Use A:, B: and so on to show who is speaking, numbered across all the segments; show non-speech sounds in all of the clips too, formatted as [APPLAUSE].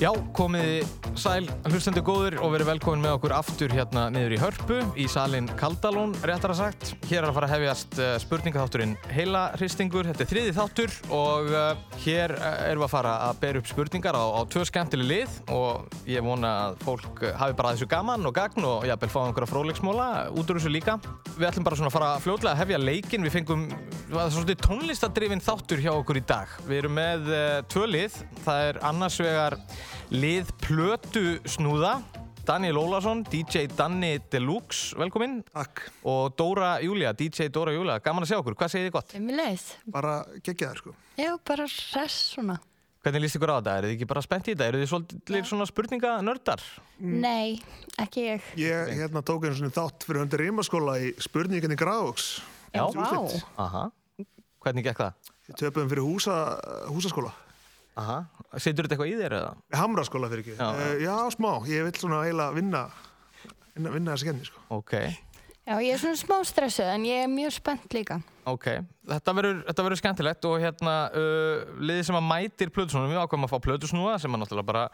A: Já, komiði sæl, hlustendur góður og verið velkomin með okkur aftur hérna niður í Hörpu í salin Kaldalón, réttara sagt. Hér er að fara að hefjast uh, spurningaþátturinn heila hristingur. Þetta er þriði þáttur og uh, hér eh, erum við að fara að bera upp spurningar á, á tvö skemmtileg lið og ég vona að fólk eh, hafi bara að þessu gaman og gagn og jafnvel fá einhverja fróðleiksmóla út úr þessu líka. Við ætlum bara svona að fara fljótlega að hefja leikinn. Við fengum, það var svolítið tónlistadrifin þáttur hjá okkur í dag. Við erum með uh, tvö lið. Það er annars vegar lið Plötu Snúða, Daniel Ólason, DJ Danni Deluxe, velkomin,
B: Takk,
A: og Dóra Júlia, DJ Dóra Júlia. Gaman að sjá okkur, hvað segir þið gott?
C: Sömulegis.
B: bara geggja þér sko.
C: Já, bara hress svona.
A: Hvernig líst ykkur á þetta? Eru þið ekki bara spennt í þetta? Eru þið svolítið svona spurninganördar?
C: Nei, ekki ég.
B: Ég hérna tók einu svona þátt fyrir undir reymaskóla í spurninginni Gravox.
A: Já.
B: Þessi úrslit.
A: Aha. Hvernig gekk það?
B: Við töpuðum fyrir húsa, húsaskóla.
A: Aha. Setur þetta eitthvað í þér eða?
B: Hamraskóla fyrir ekki.
A: Já,
B: Já, já smá. Ég vil svona eiginlega vinna, vinna, vinna þessi kenni sko.
A: Ok.
C: Já, ég er svona smá stressuð en ég er mjög spennt líka.
A: Ok, þetta verður, þetta verður skemmtilegt og hérna uh, liðið sem að mætir plötusnúðum, við ákveðum að fá plötusnúða sem að náttúrulega bara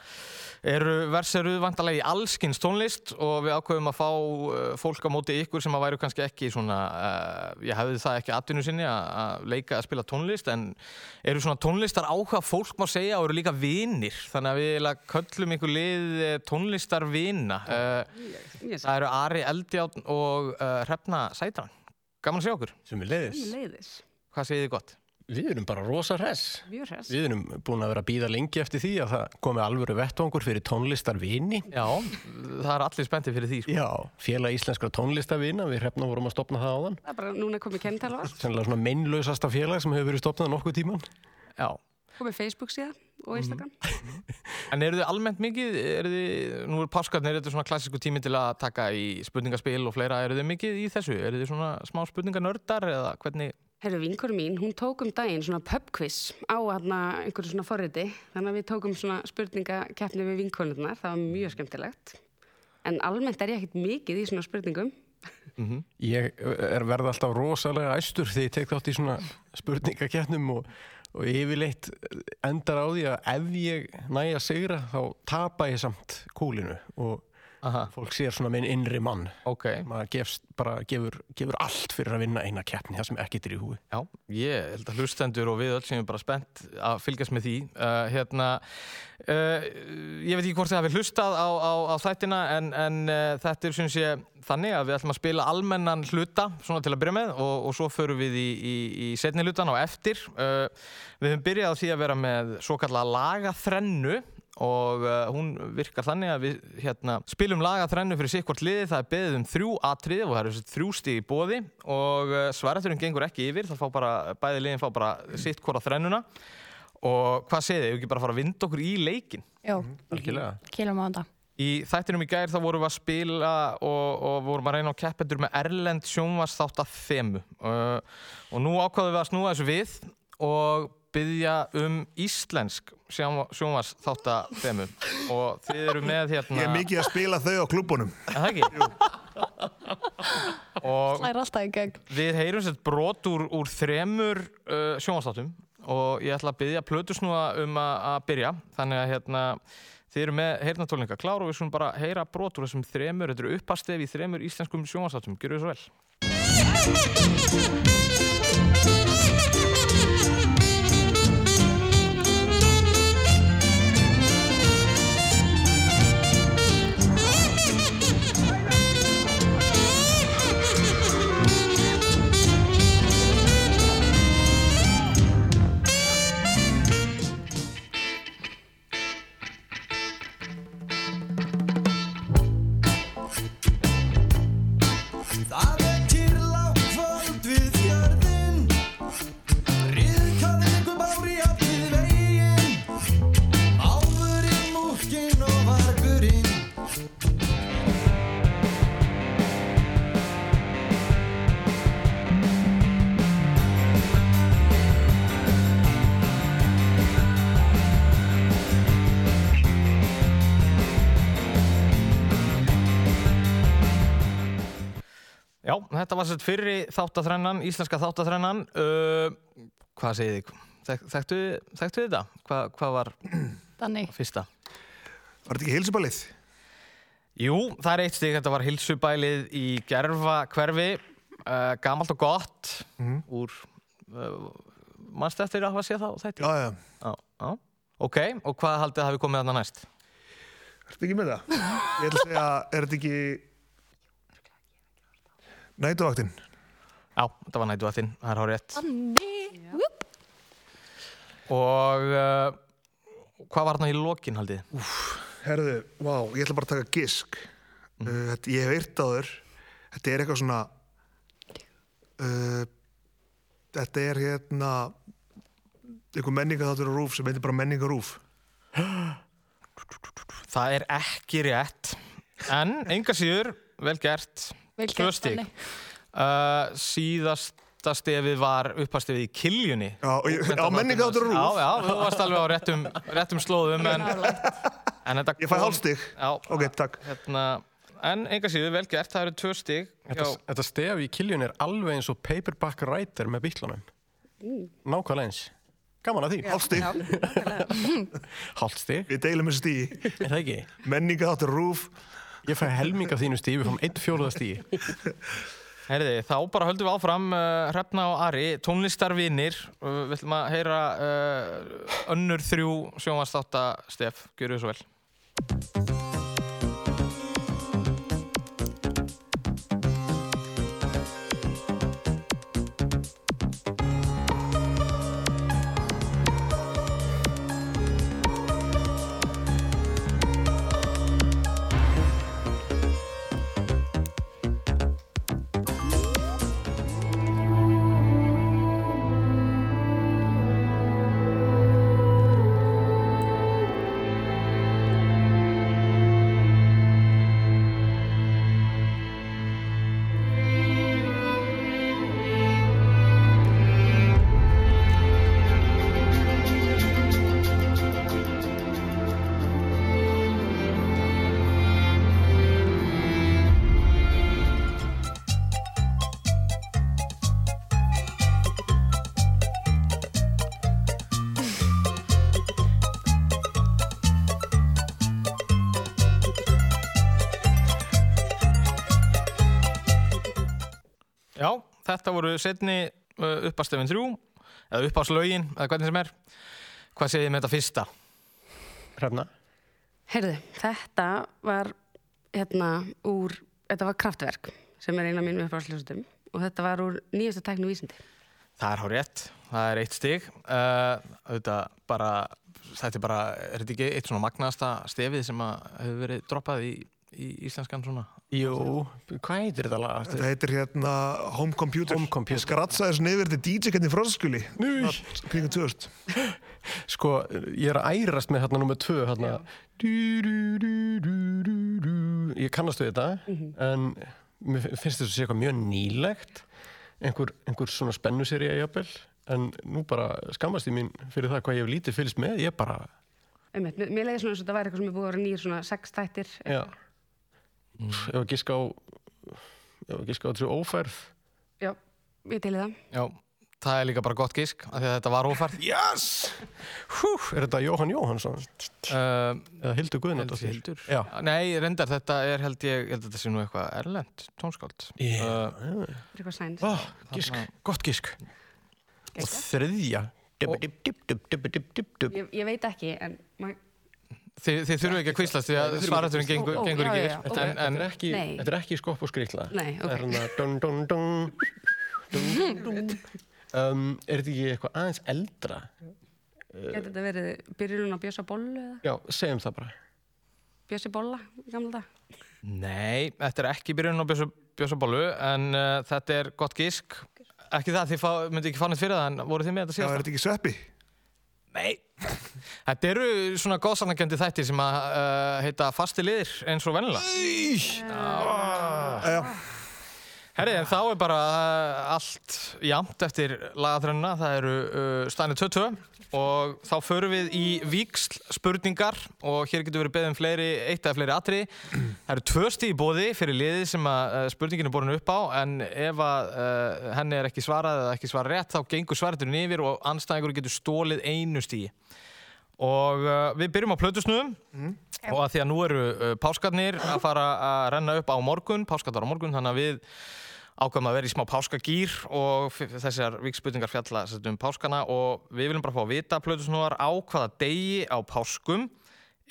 A: eru verseruð vantarlega í allskins tónlist og við ákveðum að fá uh, fólk á móti ykkur sem að væru kannski ekki svona, uh, ég hefði það ekki atvinnu sinni að- að leika að spila tónlist en eru svona tónlistar áhuga fólk má segja og eru líka vinir þannig að við eiginlega köllum ykkur lið eh, tónlistarvina. Uh,
D: Yes.
A: það eru Ari Eldjátt og uh, Hrefna Sætran. Gaman að sjá okkur.
E: sem við leiðis.
D: Leiðis,
A: Hvað segið þið gott?
E: Við erum bara rosa hress.
D: mjög hress.
E: Við erum búin að vera að býða lengi eftir því að það komi alvöru vettvangur fyrir tónlistarvini.
A: Já, það er allir spenntið fyrir því sko.
E: Já, félag íslenskra tónlistarvina, við hrefna vorum að stopna það áðan.
D: Það er bara núna komið kennitala á allt,
E: Sennilega svona meinlausasta félag sem hefur verið stopnað nokkuð tíman.
A: Já.
D: komið Facebook síðan og Instagram.
A: En eru þið almennt mikið, eru þið, nú er páskarnir, þetta er svona klassísku tími til að taka í spurningaspil og fleira, eru þið mikið í þessu? Eru þið svona smá spurninganördar eða hvernig?
D: Herru, vinkur mín, hún tók um daginn svona pubquiz á hana einhverju svona forriti. Þannig að við tókum svona spurningakeppni við vinkonurnar, það var mjög skemmtilegt. En almennt er ég ekkert mikið í svona spurningum.
E: Ég eh, er verða alltaf rosalega æstur þegar ég tek þátt í svona spurningaketnum og, og yfirleitt endar á því að ef ég næja sigra þá tapa ég samt kúlinu og
A: Aha,
E: fólk sér svona minn innri mann.
A: ok.
E: maður gefst, bara gefur, gefur allt fyrir að vinna eina keppni, það sem ekkert er í húi
A: Já, ég held að hlustendur og við öll sem er bara spennt að fylgjast með því. Uh, hérna, uh, ég veit ekki hvort þið hafi hlustað á, á, á þættina en, en uh, þetta er syns ég þannig að við ætlum að spila almennan hluta svona til að byrja með og, og svo förum við í, í, í setni hlutan á eftir. Uh, við höfum byrjað á því að vera með svo kallega lagaþrennu og uh, hún virkar þannig að við hérna, spilum lagaþrennu fyrir sikkvort liði það er beðið um þrjú atrið og það eru þessi þrjú stig í bóði og uh, svarætturinn gengur ekki yfir það fá bara, bæði liðin fá bara sitt hvora þrennuna og hvað segið þið, hefur ekki bara að fara að vinda okkur í leikin
C: Jó,
E: Algjörlega.
C: kilum á þetta.
A: Í þættinum í gær þá vorum við að spila og, og vorum að reyna á keppendur með Erlend sjónvars þátt að þemu uh, og nú ákváðum við að snúa þessu við og byggja um íslensk sjónvars þátt að þemu og þið eru með hérna
B: Ég er mikið að spila þau á klubunum.
A: Er það ekki? og
C: Það er alltaf í gegn.
A: við heyrum sér brot úr, úr þremur uh, sjónvastáttum og ég ætla að byggja plötusnúa um að að byrja þannig að hérna þið eru með heyrnatólninga klár og við skulum bara heyra brot úr þessum þremur, þetta eru uppastef í þremur íslenskum sjónvastáttum, gjöru þið svo vel
F: Það er kyrlátt kvöld við jörðin Riðkaði ykkur bári átt við veginn Áðurinn, múkinn og vargurinn
A: Já, þetta var sér fyrri þáttathrennan, íslenska þáttathrennan uh, hvað segið þið? Þek, þekktu, þekktu þið þetta? Hva, hvað var
C: Þannig,
A: fyrsta?
B: Var þetta ekki heilsubalið?
A: Jú, það er eitt stig, þetta var hilsubælið í gerfa hverfi, uh, gamalt og gott, úr, uh, mannstu eftir að hafa séð það og
B: Já,
A: þetta?
B: já.
A: Já. Já. Ok, og hvað haldið að hafi komið þarna næst?
B: Ertu ekki með það? Ég ætla að segja, er þetta ekki... Nætuvaktinn?
A: Já, þetta var nætuvættin, það er hár rétt.
C: Andi, whoop.
A: Og uh, hvað var þarna í lokin haldið?
B: Herðu, vá, ég ætla bara að taka gisk.
E: Mhm.
B: Uh, þetta, ég hef eirt á þur. Þetta er eitthvað svona... Uh, þetta er hérna... Eitthvað menningarþáttur á rúf sem heitir bara menningarúf.
A: Það er ekki rétt, en enga síður, vel gert,
C: Vel
A: tvö
C: gert,
A: stig.
C: Danni.
A: Uh, síðasta stefið var uppastefið í Kiljunni.
B: Já, og ég, á menningarþáttur á rúf.
A: Já, já, þú varst alveg á réttum, réttum slóðum en,
C: Hérna.
A: en þetta
B: Ég fæ hálfstig.
A: Já,
B: Ok, takk.
A: hérna, en enga síður vel gert, það eru tvö stig hjá,
E: Þetta, þetta stef í kiljun er alveg eins og paperback writer með bítlunum. Nákvæmlega eins. Gaman að því.
B: Hálfstig.
E: [LAUGHS] Hálft stig.
B: Við deilum þessu
E: [LAUGHS]
B: stíi.
E: Er það ekki?
B: Menningarþáttur á rúf.
E: Ég fæ helming af þínu stífi, við fáum einn fjóruða stífi.
A: Heyrði, þá bara höldum við áfram uh, Hrefna og Ari, tónlistarvinir uh, Við ætlum að heyra uh, önnur þrjú sjónvastátta stef, gjöru svo vel Já, þetta voru setni uh, uppastefin þrjú eða uppáslögin, eða hvernig sem er Hvað segið þið með þetta fyrsta?
E: Hrefna.
D: Heyrðu, þetta var hérna úr, þetta var kraftverk sem er eina af mínum uppáðsljóðstum og þetta var úr nýjastu tæknu vísindi.
A: Það er hár rétt, það er eitt stig uh, Þetta bara, þetta er bara, er þetta ekki eitt svona magnaðasta stefið sem að hefur verið droppað í, í íslenskan svona
E: Jú, hvað heitir þetta lag?
B: Þetta heitir hérna Home Computer.
E: Home Computer.
B: Ég skratsaði þessu niður til DJ kenni fróðskuli.
E: Nú.
B: Kringum 2000.
E: Sko, ég er að ærast með hérna nummer tvö, hérna. Dú, dú, dú, dú, dú, dú. Ég kannast við þetta, en mér finnst þetta að sé eitthvað mjög nýlegt, einhver, einhver svona spennuserja jafnvel, en nú bara skammast ég mín fyrir það hvað ég hef lítið fylgst með, ég bara,
D: Einmitt, mér, mér leiði svona eins og þetta væri eitthvað sem er búið að vera nýjir svona sex tættir.
E: já, ef að giska á, ef að giska á þessu ófærð,
D: Já, ég teili það.
A: Já, það er líka bara gott gisk af því að þetta var ófærð
E: yes! Hú, er þetta Jóhann Jóhannsson?
A: uh,
E: Eða Hildur Guðnardóttir?
A: Hildur.
E: Já.
A: Nei, reyndar, þetta er held ég, ég held að þetta sé nú eitthvað erlend tónskáld
E: Yeah.
D: Það er eitthvað sæns.
E: Uh, gisk, gott gisk. Og þriðja. Dip, dip, dip, dip, dip, dip, dip, dip.
D: Ég, ég veit ekki, en maður...
A: Þi, Þið þurfum ekki að kvíslast því að svaraturin gengur,
D: Ó, ó,
A: gengur
D: já,
A: ekki
D: já,
A: upp.
D: já,
A: en, en,
E: Þetta er ekki,
D: Nei.
E: þetta er ekki skopp og skrýtla.
D: Nei, ok.
E: Það er hann að dun, dun, dun, dun, dun. Um, er þetta ekki eitthvað aðeins eldra? Eh.
D: Getur þetta verið byrjun á Bjössa Bollu eða
E: Já, segjum það bara.
D: Bjössi Bolla, í gamla dag?
A: Nei, þetta er ekki byrjun á Bjössa- Bjössa Bollu en uh, þetta er gott gisk Ekki það, þið fá, myndi ekki fá neitt fyrir það en voru þið með þetta
B: Já, er
A: síðast?
B: þetta ekki sveppi?
A: Nei Þetta eru svona góðsannakjöndi þættir sem að uh, heita fasti liðir eins og vennilega
B: Já,
A: Herri, en þá er bara uh, allt jamt eftir lagatrennina, það eru uh, stænir 22 og þá förum við í víksl spurningar og hér getur verið beðið um fleiri, eitt eða fleiri atri. Það eru tvö stíð í bóði fyrir liðið sem að uh, spurningin er borin upp á en ef að uh, henni er ekki svarað eða ekki svarað rétt þá gengur svareturinn yfir og anstæðingur getur stólið einu stíði. Og uh, við byrjum á plötusnúðum og að því að nú eru uh, páskarnir að fara að renna upp á morgun, páskarnar á morgun, þannig að við ákveðum að vera í smá páskagýr og f- þessar vikspurningar fjalla sem sagt um páskana og við viljum bara fá að vita plötusnúðar á hvaða degi á páskum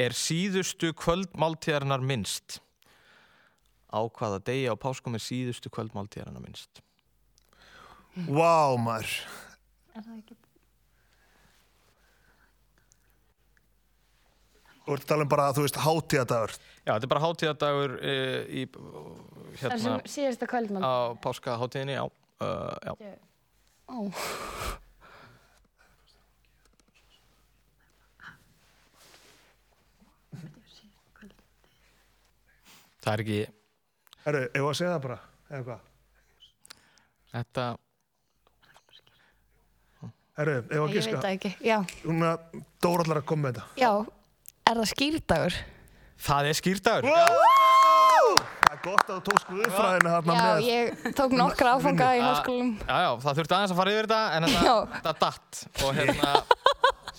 A: er síðustu kvöldmáltíðarinnar minnst. Á hvaða degi á páskum er síðustu kvöldmáltíðarinnar minnst.
B: Vá, maður. Þú ert að tala um bara, þú veist, hátíðadagur.
A: Já, þetta er bara hátíðardagur e, í
C: Það
A: hérna
C: sem síðasta kvöldmál.
A: á páskaháttíðinni, já. Uh, já.
C: Ó.
A: Það er ekki
B: Herru, ef að segja það bara, eða hvað?
A: þetta
B: Herru, ef að
C: Ég veit
B: giska,
C: það ekki. Já,
B: núna Dóra allar að koma með þetta.
C: já. Er það skýrdagur?
A: Það er skýrdagur
B: Það er gott að þú tókst guðfræðina þarna
C: Já,
B: með.
C: ég tók nokkra áfanga í háskólum.
A: Já, já, það þurfti aðeins að fara yfir þetta en þetta,
C: Já.
A: þetta datt og hérna,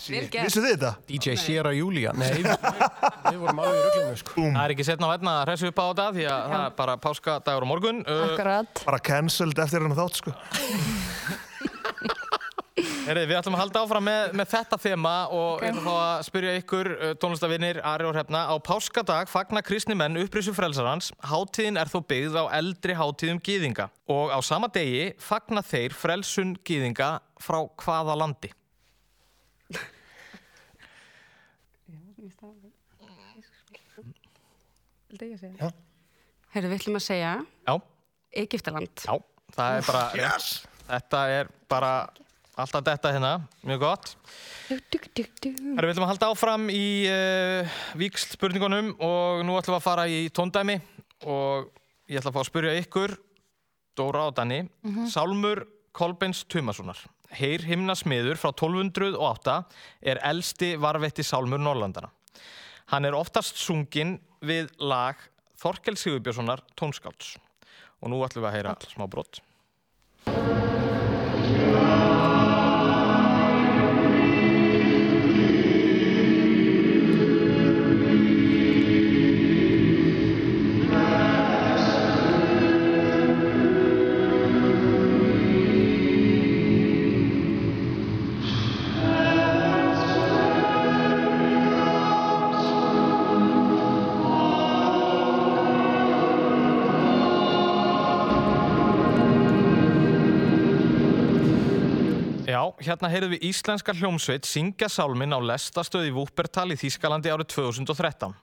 D: Vel gert.
B: Vissu þið þetta?
E: DJ Sierra Júlia Nei, við, við vorum alveg í röglunum sko.
A: það er ekki setna á vegna að hressu upp á þetta því að það er bara páskadagur og morgun uh,
C: Akkurat.
B: Bara cancelled eftir hennar þátt, sko.
A: Herri, við ætlum að halda áfram með, með þetta þema og ég ætla að fá að spyrja ykkur uh, tónlistavinnir Ari og Hrefna. Á páskadag fagna kristni menn upprisu frelsarans. Hátíðin er þó byggð á eldri hátíðum gýðinga og á sama degi fagna þeir frelsun gýðinga frá hvaða landi?
D: Vildi ég segja það? Herru, við ætlum að segja
A: Já,
D: Egyptaland.
A: já, það er bara,
B: Yes!
A: þetta er bara alltaf detta hérna, mjög gott.
C: Dug, dug, dug.
A: Herri, við ætlum að halda áfram í uh, vikslspurningunum og nú ætlum við að fara í tóndæmi og ég ætla að fá að spyrja ykkur, Dóra og Danni, Sálmur Kolbens Tumasonar. Heyr himna smiður frá 1208 er elsti varvetti Sálmur Norrlandana. Hann er oftast sunginn við lag Þorkel Sigurbjörnssonar tónskálds. Og nú ætlum við að heyra smá brott. Já, hérna heyrðum við íslenska hljómsveit syngja sálmin á lestastöð í Vúpertal í Þýskalandi árið 2013.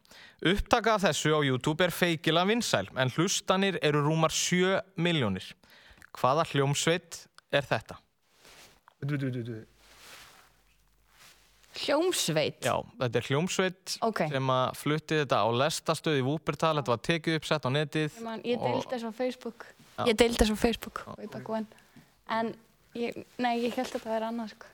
A: Upptaka af þessu á YouTube er feikila vinsæl, en hlustanir eru rúmar 7 miljónir. Hvaða hljómsveit er þetta?
B: Veitu, veitu, veitu, veitu.
C: Hljómsveit.
A: Já, þetta er hljómsveit
C: Ok.
A: sem að flutti þetta á lestastöð í Vúpertal, þetta var tekið upp sett á netið.
C: Man, ég deildi þessu á Facebook. Ég deildi þessu á Facebook. Way back when. En, ég, nei, ég held að þetta væri annað, sko.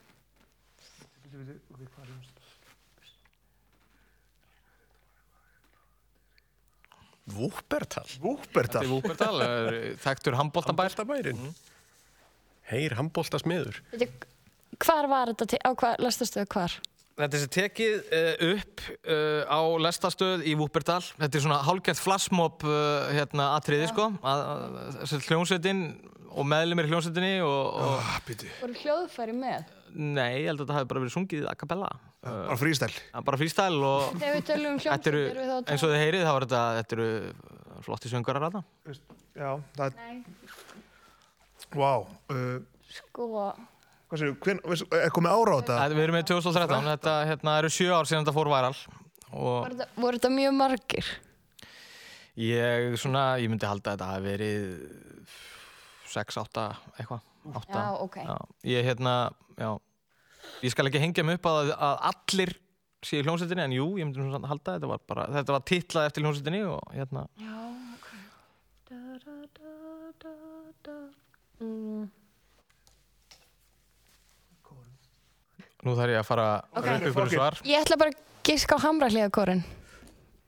E: Vúpertal
A: Þetta
B: Vúbertal.
A: er Vúpertal, eh, þekktur handbóltabær.
E: Handbóltabærin Heyr handbóltasmiður
C: Veitu, Hvar var þetta til, á hvað, lastastu það hvar?
A: Þetta er sem tekið uh, upp uh, á lestastöð í Vúperdal. Þetta er svona hálfgætt flashmob uh, hérna, atriði, sko. Að, að, að, hljómsveitin og meðlumir í hljómsveitinni og... og
B: Ah, býtu.
C: Voru hljóðfæri með?
A: Nei, ég held að þetta hafi bara verið sungið a cappella.
B: Bara frístæl.
A: Það er Bara freestyle og...
C: Þegar við tölum um
A: Þetta
C: hljómsveit,
A: eru,
C: erum við þá að
A: eins og þið heyrið, þá er þetta, þetta eru flotti söngarar að það.
B: Já, það er... Vá. Uh,
C: sko...
B: hvað séu, hvern, veist, er komið ára á þetta?
A: Við erum með 2013, þetta hérna, eru sjö ár síðan þetta fór væral. Og
C: Var þetta- Voru þetta mjög margir?
A: ég, svona, ég myndi halda að þetta hafi verið 6-8 eitthvað. átta.
C: Já, ok.
A: Já, ég hérna, já Ég skal ekki hengja mig upp að, að allir séu í hljómsveitinni, en jú, ég myndi nú samt að halda þetta var bara, þetta var titlað eftir hljómsveitinni og hérna, nú þarf ég að fara upp ykkur svar.
C: Ég ætla bara að giska á hamrahlíðakórin.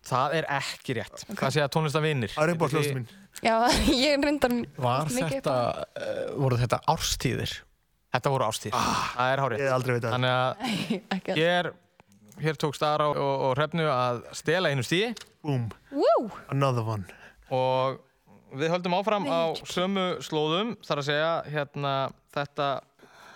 A: Það er ekki rétt. Hvað sé að tónlistar vinir?
B: Það er upp á hljóðstu mín.
C: Já, [LAUGHS] ég reyndar...
E: Var
C: mikið upp
E: þetta,
A: eh,
E: uh, voru þetta árstíðir?
A: Þetta voru ástíð. Það er hárið.
B: Ég hef Ah. aldrei veit að
A: Þannig að
C: á- Ekki
A: ég er Hér tókst Ara og, og Hrefnu að stela einu stíi
B: Boom,
C: Woo!
B: another one.
A: og við höldum áfram á sömu slóðum þar að segja hérna þetta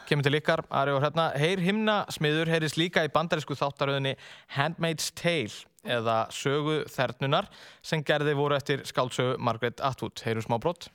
A: kemur til ykkar, Ari og Hrefna Heyr himna smiður heyrist líka í bandarísku þáttaröðinni Handmaid's Tale eða sögu þernunar sem gerði voru eftir skáldsögu Margaret Atwood, heyrum smá brott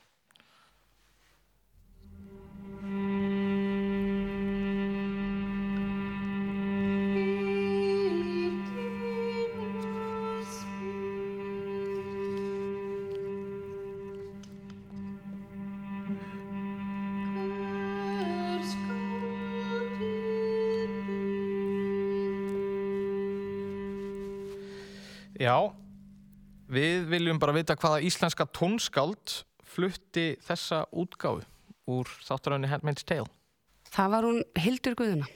A: Já, við viljum bara vita hvaða íslenska tónskáld flutti þessa útgáfu úr þáttaröðinni Handmaid's Tale
D: Það var hún Hildur Guðuna.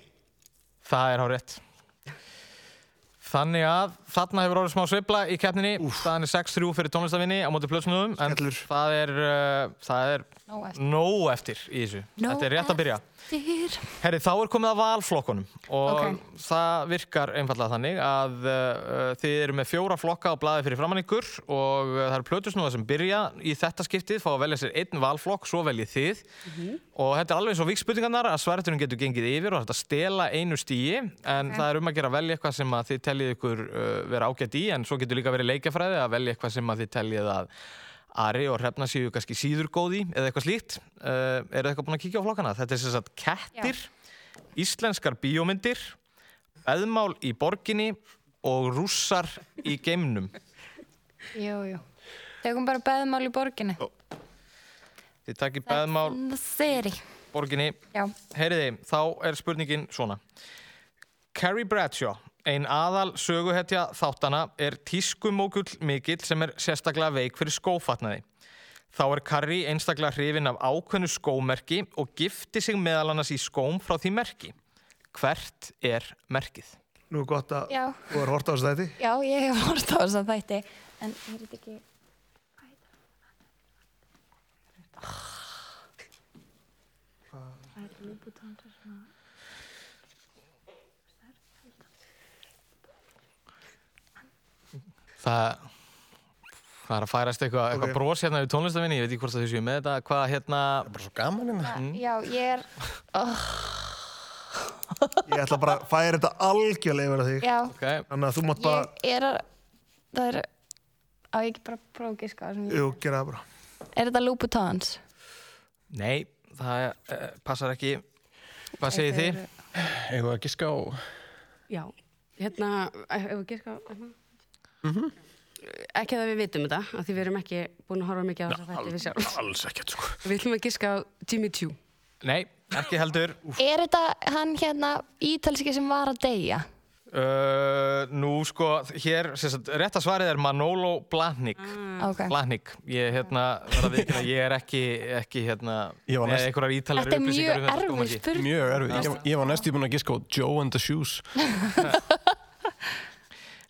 A: Það er á rétt. Þannig að þarna hefur orðið smá sveifla í keppninni. Staðan er 6-3 fyrir tónlistafinni á móti plötsnöðum. En
B: Skellur.
A: það er, uh, það er
C: Nó eftir.
A: nóg eftir í þessu.
C: Nóg
A: Þetta er rétt að byrja.
C: Dyr.
A: Herri, þá er komið að valflokkunum og
D: Ókei.
A: það virkar einfallega þannig að uh, uh, þið eru með fjóra flokka á blaði fyrir framann ykkur og uh, það eru plötusnúða sem byrja í þetta skiptið, fá að velja sér einn valflokk, svo veljið þið og þetta er alveg eins og vikspurningarnar að sverturinn getur gengið yfir og þetta stela einu stíi en það er um að gera að velja eitthvað sem að þið teljið ykkur uh, vera ágætt í en svo getur líka verið leikjafræði að velja eitthvað sem að þið teljið að Ari og Hrefna séu kannski síður góði eða eitthvað slíkt. Uh, eru eitthvað búin að kíkja á flokkana? Þetta er sem sagt kettir, íslenskar bíómyndir, beðmál í borginni og rússar í geimnum.
C: Jú, jú. Tegum bara beðmál í borginni.
A: Þið takkir beðmál
C: Það seri.
A: borginni.
C: Já.
A: Heyriði, þá er spurningin svona. Carrie Bradshaw, ein aðal söguhetja þáttana, er tískumókull mikill sem er sérstaklega veik fyrir skófatnaði. Þá er Carrie einstaklega hrifin af ákveðnu skómerki og gifti sig meðal annars í skóm frá því merki. Hvert er merkið?
B: Nú er gott að
C: Já.
B: þú er hort á þessu þætti.
C: Já, ég hef hort á þess að þætti. En er þetta ekki...
A: Það, það er að færast eitthvað eitthva
B: Ok.
A: brós hérna við tónlistafinni, ég veit ekki hvort að þau séu með þetta, hvað hérna...
E: Bara svo gaman hérna.
A: Mhm.
C: Já, ég er...
B: Ég ætla bara að færa þetta algjörlega yfir að þig.
C: Já,
A: Okay.
B: Þannig að þú mátt bara,
C: ég er að... Það er... Á, ég ekki bara að prófa að giska á þessum.
B: jú, gera það bara.
C: Er þetta Louboutins?
A: Nei, það uh, passar ekki. Hvað segir þið?
E: Eða að giska á...
D: Já. Hérna, hefur við gert hvað?
E: Mhm.
D: Ekki að við vitum þetta, af því við erum ekki búin að horfa mikið á þess að þetta við sjálf.
E: Alls ekkert sko.
D: Við ætlum að giska á Jimmy Choo.
A: Nei, ekki heldur.
C: Er þetta hann hérna ítalski sem var að deyja?
A: Uh, nú sko, hér, sem sagt, rétta svarið er Manolo Blahnik.
C: Ok.
A: Blahnik, ég, hérna, verð að viðkynna, ég er ekki, ekki, hérna,
E: Ég
A: með
E: var næst-
A: einhverjar ítalegri
C: Þetta er
A: upplýsingar
C: mjög
A: um þetta
C: erfið
A: skómerki.
C: spurning.
E: Mjög erfið. Ég, ég var næstu búin að giska á Joe and the Shoes.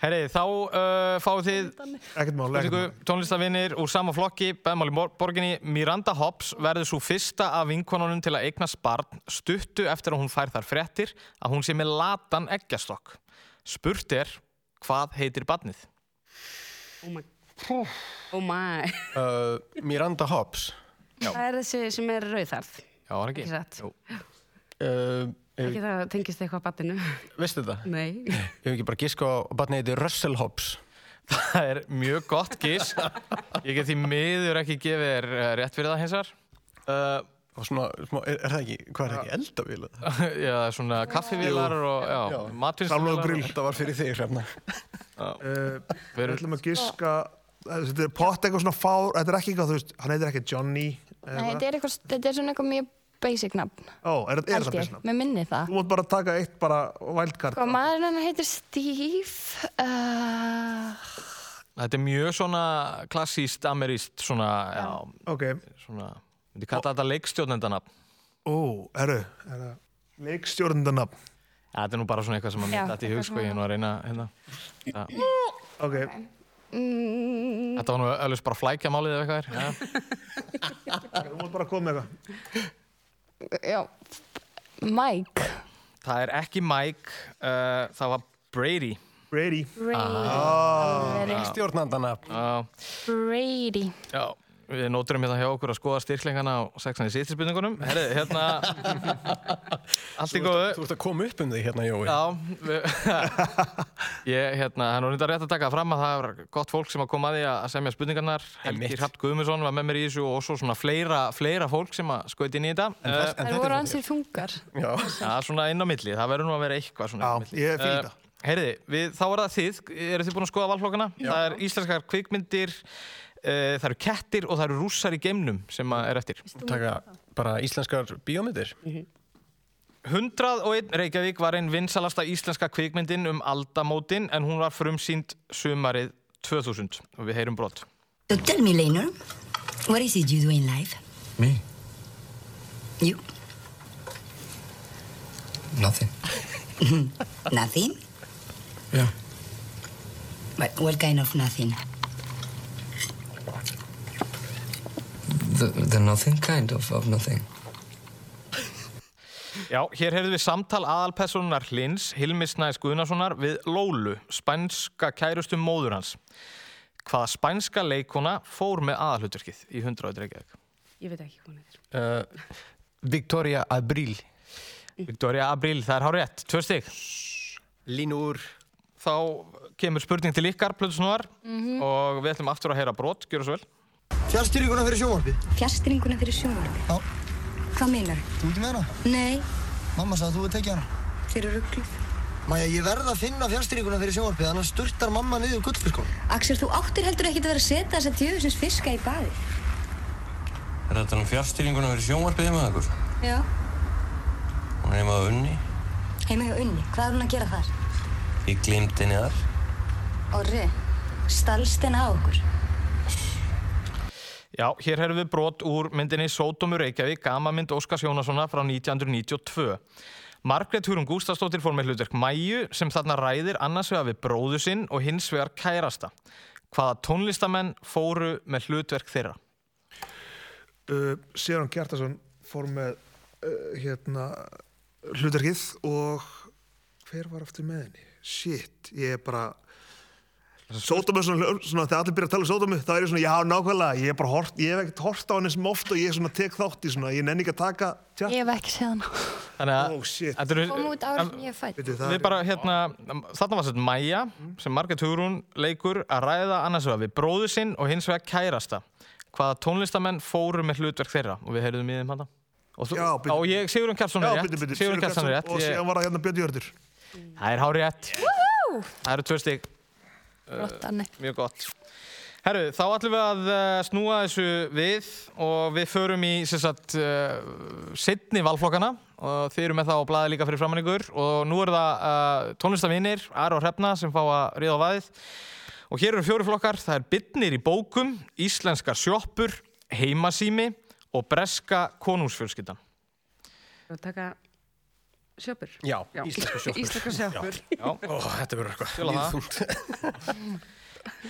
A: Herri, þá uh, fáið þið
B: Ekkert mál, ekkert
A: Spurningu,
B: mál.
A: tónlistavinnir úr sama flokki, beðmáli borginni, Miranda Hobbs verður svo fyrsta af vinkonunum til að eignast barn stuttu eftir að hún fær þar fréttir að hún sé með latan eggjastokk. Spurt er, hvað heitir barnið?
D: Oh my. Oh my.
E: Uh, Miranda Hobbs.
D: Það er þessi sem er rauðarð.
A: Já, var ekki?
D: Ekki satt.
A: Jú.
E: Uh,
D: Ekki það að tengist eitthvað að batinu.
E: Vistu þetta?
D: Nei.
E: Ég hef ekki bara giska á barnið heiti Russell Hobbs.
A: Það er mjög gott gísk. Ég get því miður ekki gefið þér eh, rétt fyrir það hins vegar. Uh,
E: Og svona, smá, er, er það ekki, hvað er það ekki eldavíla?
A: já, svona kaffivílar og já,
E: Já.
B: Samlokur
A: matvinnsvílar.
B: grill.
E: Þetta var fyrir þig, hérna. Hrefna.
B: Uh,
A: Við
B: við
A: erum-
B: ætlum að giska, Eh, þetta er pott eitthvað svona fár, þetta er ekki eitthvað, þú veist, hann heitir ekki Johnny. eða
C: Nei,
B: eitthvað.
C: þetta er, eitthvað, þetta er svona eitthvað mjög basic nafn,
B: Ó, er þetta er
C: held
B: þetta
C: ég,
B: besna?
C: með minni það.
B: Þú mátt bara taka eitt bara wildcard.
C: Sko, maðurinn hennar heitir Steve. Uh,
A: Þetta er mjög svona klassíst, ameríst, svona, já,
B: Ok,
A: svona, myndi kalla þetta leikstjórnendanafn.
B: ó, herru, er það leikstjórnendanab.
A: Ja, þetta er nú bara svona eitthvað sem að
C: Já,
A: mynda þetta í hug,
C: eitthvað
A: sko, ég er nú að reyna, hérna. Já.
B: Ok,
C: mm,
A: Þetta var nú öllust bara flækjamálið eða eitthvað er. Já.
B: þú mátt bara koma með eitthvað.
C: já, Mike.
A: Það er ekki Mike, uh, það var Brady
B: Brady
A: Ah.
C: Brady.
E: Stjórnandana
A: Já,
C: Brady.
A: já Við nóturum hérna hjá okkur að skoða styrklingana á sexan í sýttispurningunum Herri,
E: [LAUGHS]
A: hérna Allt í góðu
E: Þú ert að koma upp um þig hérna, Jói
A: Já, við- [LAUGHS] ég, hérna, hann var reyndar rétt að taka fram að það var gott fólk sem að koma að því að semja spurningarnar. Helgi
E: Einmitt.
A: Hrapt Guðmundsson var með mér í þessu og svo svona fleira, fleira fólk sem að skauti inn í þetta.
E: En þess-
A: Eh,
E: en
C: Það
E: þetta
C: voru
E: er-
C: ansið þungar.
E: Já,
A: Það er svona inn á milli, það verður nú að vera eitthvað svona
B: Já,
A: inn á milli.
B: ég fíl
A: Eh,
B: þetta
A: Heyriði, við, þá er það þið, eru þið búin að skoða valflokkana? Það er íslenskar kvikmyndir, uh, það eru kettir og það eru rússar í geimnum sem að er eftir.
E: taka bara íslenskar bíómyndir
A: 101 Reykjavík var einn vinsalasta íslenska kvikmyndin um aldamótin en hún var frumsýnd sumarið 2000 og við heyrum brot.
G: So tell me, Lena, what is it you do in life?
H: Me?
G: You?
H: Nothing.
G: [LAUGHS] Nothing?
H: Yeah.
G: But what kind of nothing?
H: The, the nothing kind of, of nothing.
A: Já, hér heyrðum við samtal aðalpersonunar Hlins, Hilmis Næs Guðnasonar við Lólu, spænska kærustum móður hans. Hvaða spænska leikona fór með aðalhuturkið í 101 Reykjavík?
D: Ég veit ekki hvað hún heitir.
E: uh, Victoria Abril
A: Victoria Abril, það er hár rétt, tvö stig.
E: Línur
A: Þá kemur spurning til ykkar, plötusnúar, og við ætlum aftur að heyra brot, gjöra svo vel.
F: Fjárstýringuna fyrir sjónvarpið.
G: Fjastringuna fyrir sjónvarp.
F: Já.
G: Hvað meinar?
F: Þú ekki með hana?
G: Nei,
F: Mamma sagði að þú veit tekið hana.
G: þeir eru rugglið.
F: Maja, ég verð að finna fjárstýringuna fyrir sjónvarpið, annars sturtar mamma niður gullfiskon.
G: Axel, þú áttir heldur ekkert að vera að setja þessa djöfusins fiska í baði.
H: Er þetta nú fjárstýringuna fyrir sjónvarpið heima ykkur?
G: Já.
H: Hún er heima að unni.
G: Heima hjá Unni, hvað er hún að gera þar?
H: Ég glimt henni þar.
G: Orri, stalst henn á okkur.
A: Já, hér heyrðum við brot úr myndinni Sódómur Reykjavík, gamamynd Óskars Jónassonar frá 1992. Margrét Hurum Gústafsdóttir fór með hlutverk Mæju sem þarna ræðir annars vegar við bróðu sinn og hins vegar kærasta. Hvaða tónlistamenn fóru með hlutverk þeirra?
B: uh, Sérón Kjartason fór með uh, hérna hlutarkið og hver var aftur með henni? Shit, ég er bara Sótamu, svona, svona, þegar allir byrja að tala um Sótamu þá er ég svona, já, nákvæmlega, ég er bara hort ég hef ekkert hort á henni sem oft og ég er svona tek þátt í svona, ég nenni ekki að taka tjá,
C: Ég hef ekki séð hana.
A: Þannig að...
B: oh shit,
A: Þetta eru-
C: Kom út ára sem ég er fætt.
B: veitu það
A: Við bara hérna, þarna var sett Maja
B: Mm.
A: sem Margrét Hugrún leikur að ræða annars vegar við bróðu sinn og hins vegar kærasta. Hvaða tónlistamenn fóru með hlutverk þeirra og við heyrðum í þeim hana. Og, þú,
B: Já, bíddu.
A: og ég, Sigurinn Kjartsson
B: já,
A: er rétt.
B: byrju, byrju,
A: Sigurjón Kjartansson er rétt.
B: og
A: Ég,
B: síðan var það hérna Björn Jörður
A: það er hár rétt. Það eru tvö stík,
C: Rottarni.
A: mjög gott. Herru, þá ætlum við að eh, snúa þessu við og við förum í sem sagt, uh, setni valflokkana og þeir eru með það á blaði líka fyrir framann ykkur og nú er það uh, tónlistavinir, Ari og Hrefna sem fá að ríða á vaðið og hér eru fjóri flokkar, það er bitnir í bókum, íslenskar sjoppur, heimasými og breska konungsfjölskyldan.
D: Þú taka sjöpur.
E: Já, íslenskar sjoppur.
D: Íslenska sjöpur.
E: Ó, þetta verður eitthvað
A: Fjóla það.
E: Mjög þungt.
A: [LAUGHS]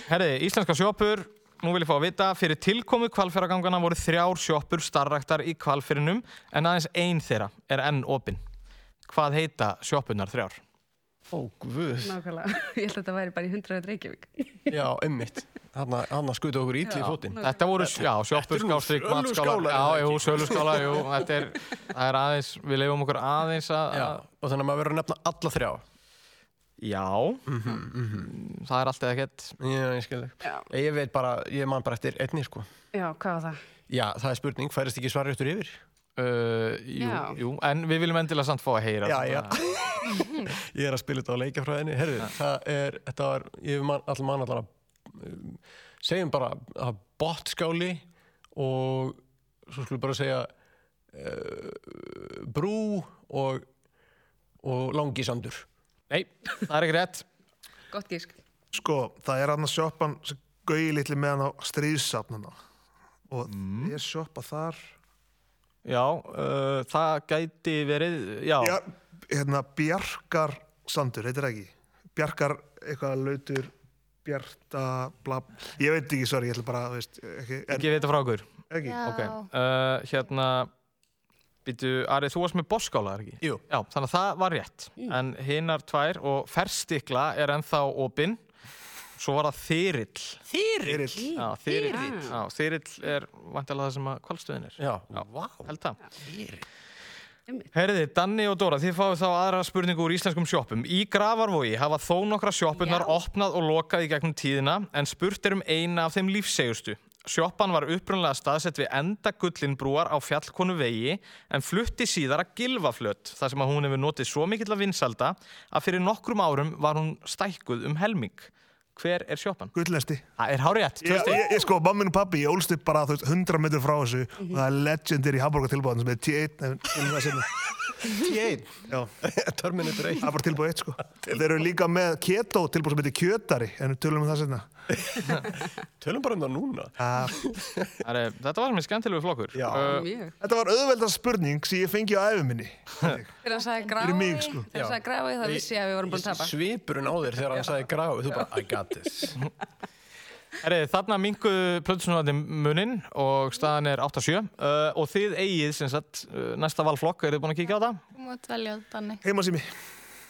A: Herði, íslenska sjoppur, nú vil ég fá að vita, fyrir tilkomu kvalfjöragangana voru þrjár sjoppur starraktar í kvalfjörunum en aðeins ein þeirra er enn opinn. Hvað heita sjoppunar þrjár?
E: Ó, guð
D: Nákvæmlega. [LAUGHS] Ég held að þetta væri bara í 100 Reykjavík.
E: Já, ummitt Hanna, hanna skuta okkur ítli í fótinn
A: Þetta voru, já, sjoppur,
E: nú
A: skástrík,
E: söluskálar,
A: matskálar,
E: er það
A: já, jú,
E: ekki?
A: söluskálar, jú, þetta er, það er aðeins, við leifum okkur aðeins að,
E: Já,
A: að
E: og þannig að maður verður að nefna alla þrjá
A: já,
E: Mhm,
A: það er alltaf ekkert,
E: Já, ég skil þig.
D: Já.
E: Ég veit bara, ég man bara eftir einni sko
D: Já, hvað var það?
E: Já, það er spurning, færist ekki svarið út yfir?
A: uh, jú,
D: Já.
A: jú, en við viljum endilega samt fá að heyra.
E: Já, já. Ég er að spila þetta á leikjafræðinni. Herru, það er, þetta var, ég hef man, allan mann allan að, um, segjum bara að bottskáli og svo skulum bara segja uh, brú og, og langisandur.
A: Nei, það er ekki rétt,
D: Gott gísk.
B: sko, það er hann að sjoppan sem gauði litli með hann á stríðsafnana og mm. er sjoppa þar
A: já, uh, það gæti verið,
B: Bjar, hérna, Bjarkar Sandur, heitir það ekki Bjarkar, eitthvað lautur Bjarta, bla ég veit ekki, sorry, ég ætla bara, þú veist ekki, en,
E: eh,
A: ekki vita frá okkur
B: ekki.
C: Já.
A: ok, uh, hérna Býtu, Ari, þú varst með boskála, er ekki?
E: Jú.
A: Já, þannig að það var rétt. En hinnar tvær og ferstikla er ennþá opinn. Svo var það þyrill.
B: Erill.
A: Já, þyrill. Já, þyrill er vantilega það sem að kvalstöðin er.
E: Já,
A: Held það.
D: Einmitt.
A: Herði, Danni og Dóra, þið fáið þá aðra spurningu úr íslenskum sjoppum. Í Gravarvogi hafa þó nokkra sjoppunar
D: Já.
A: opnað og lokað í gegnum tíðina en spurt er um eina af þeim lífsegustu. Sjoppan var upprunlega staðsett við enda gullinbrúar á fjallkonu vegi en flutti síðar að gilvaflött þar sem að hún hefur notið svo mikill að vinsalda að fyrir nokkrum árum var hún stækkuð um helming. Hver er sjoppan?
B: Gullnesti.
A: Það er hárétt,
B: Ég,
A: tvösti.
B: ég, ég sko, mammin og pappi, ég ólst upp bara þú veist, 100 metri frá þessu og það er legendary hamburger tilbúðan sem er T1 en, en það sem,
E: T1
B: já,
E: [LAUGHS] Terminator 1
B: það er bara tilbúð 1 sko. Þeir eru líka með keto tilbúð sem heitir kjötari en við tölum um það senna.
E: Tölum bara um það núna
B: Uh,
A: Það er- Þetta var mér skemmtilegu flokkur.
E: Já.
A: Uh,
D: Mjög.
B: þetta var auðvelda spurning sem ég fengi á æfum minni.
D: Þegar hann sagði
B: Fyrir mig,
D: grái,
B: sko.
D: þegar hann sagði grái þá vissi ég að við vorum búin að tapa.
E: Svipurinn á þér þegar hann sagði gráð Þú bara, I got this
A: Herri, þarna minguðu plötusunandi munin og staðan er 8-7 uh, og þið eigið sem sagt uh, næsta valflokk, eru þið búin að kíkja á það?
C: Þú mátt velja þannig.
B: Heima sími.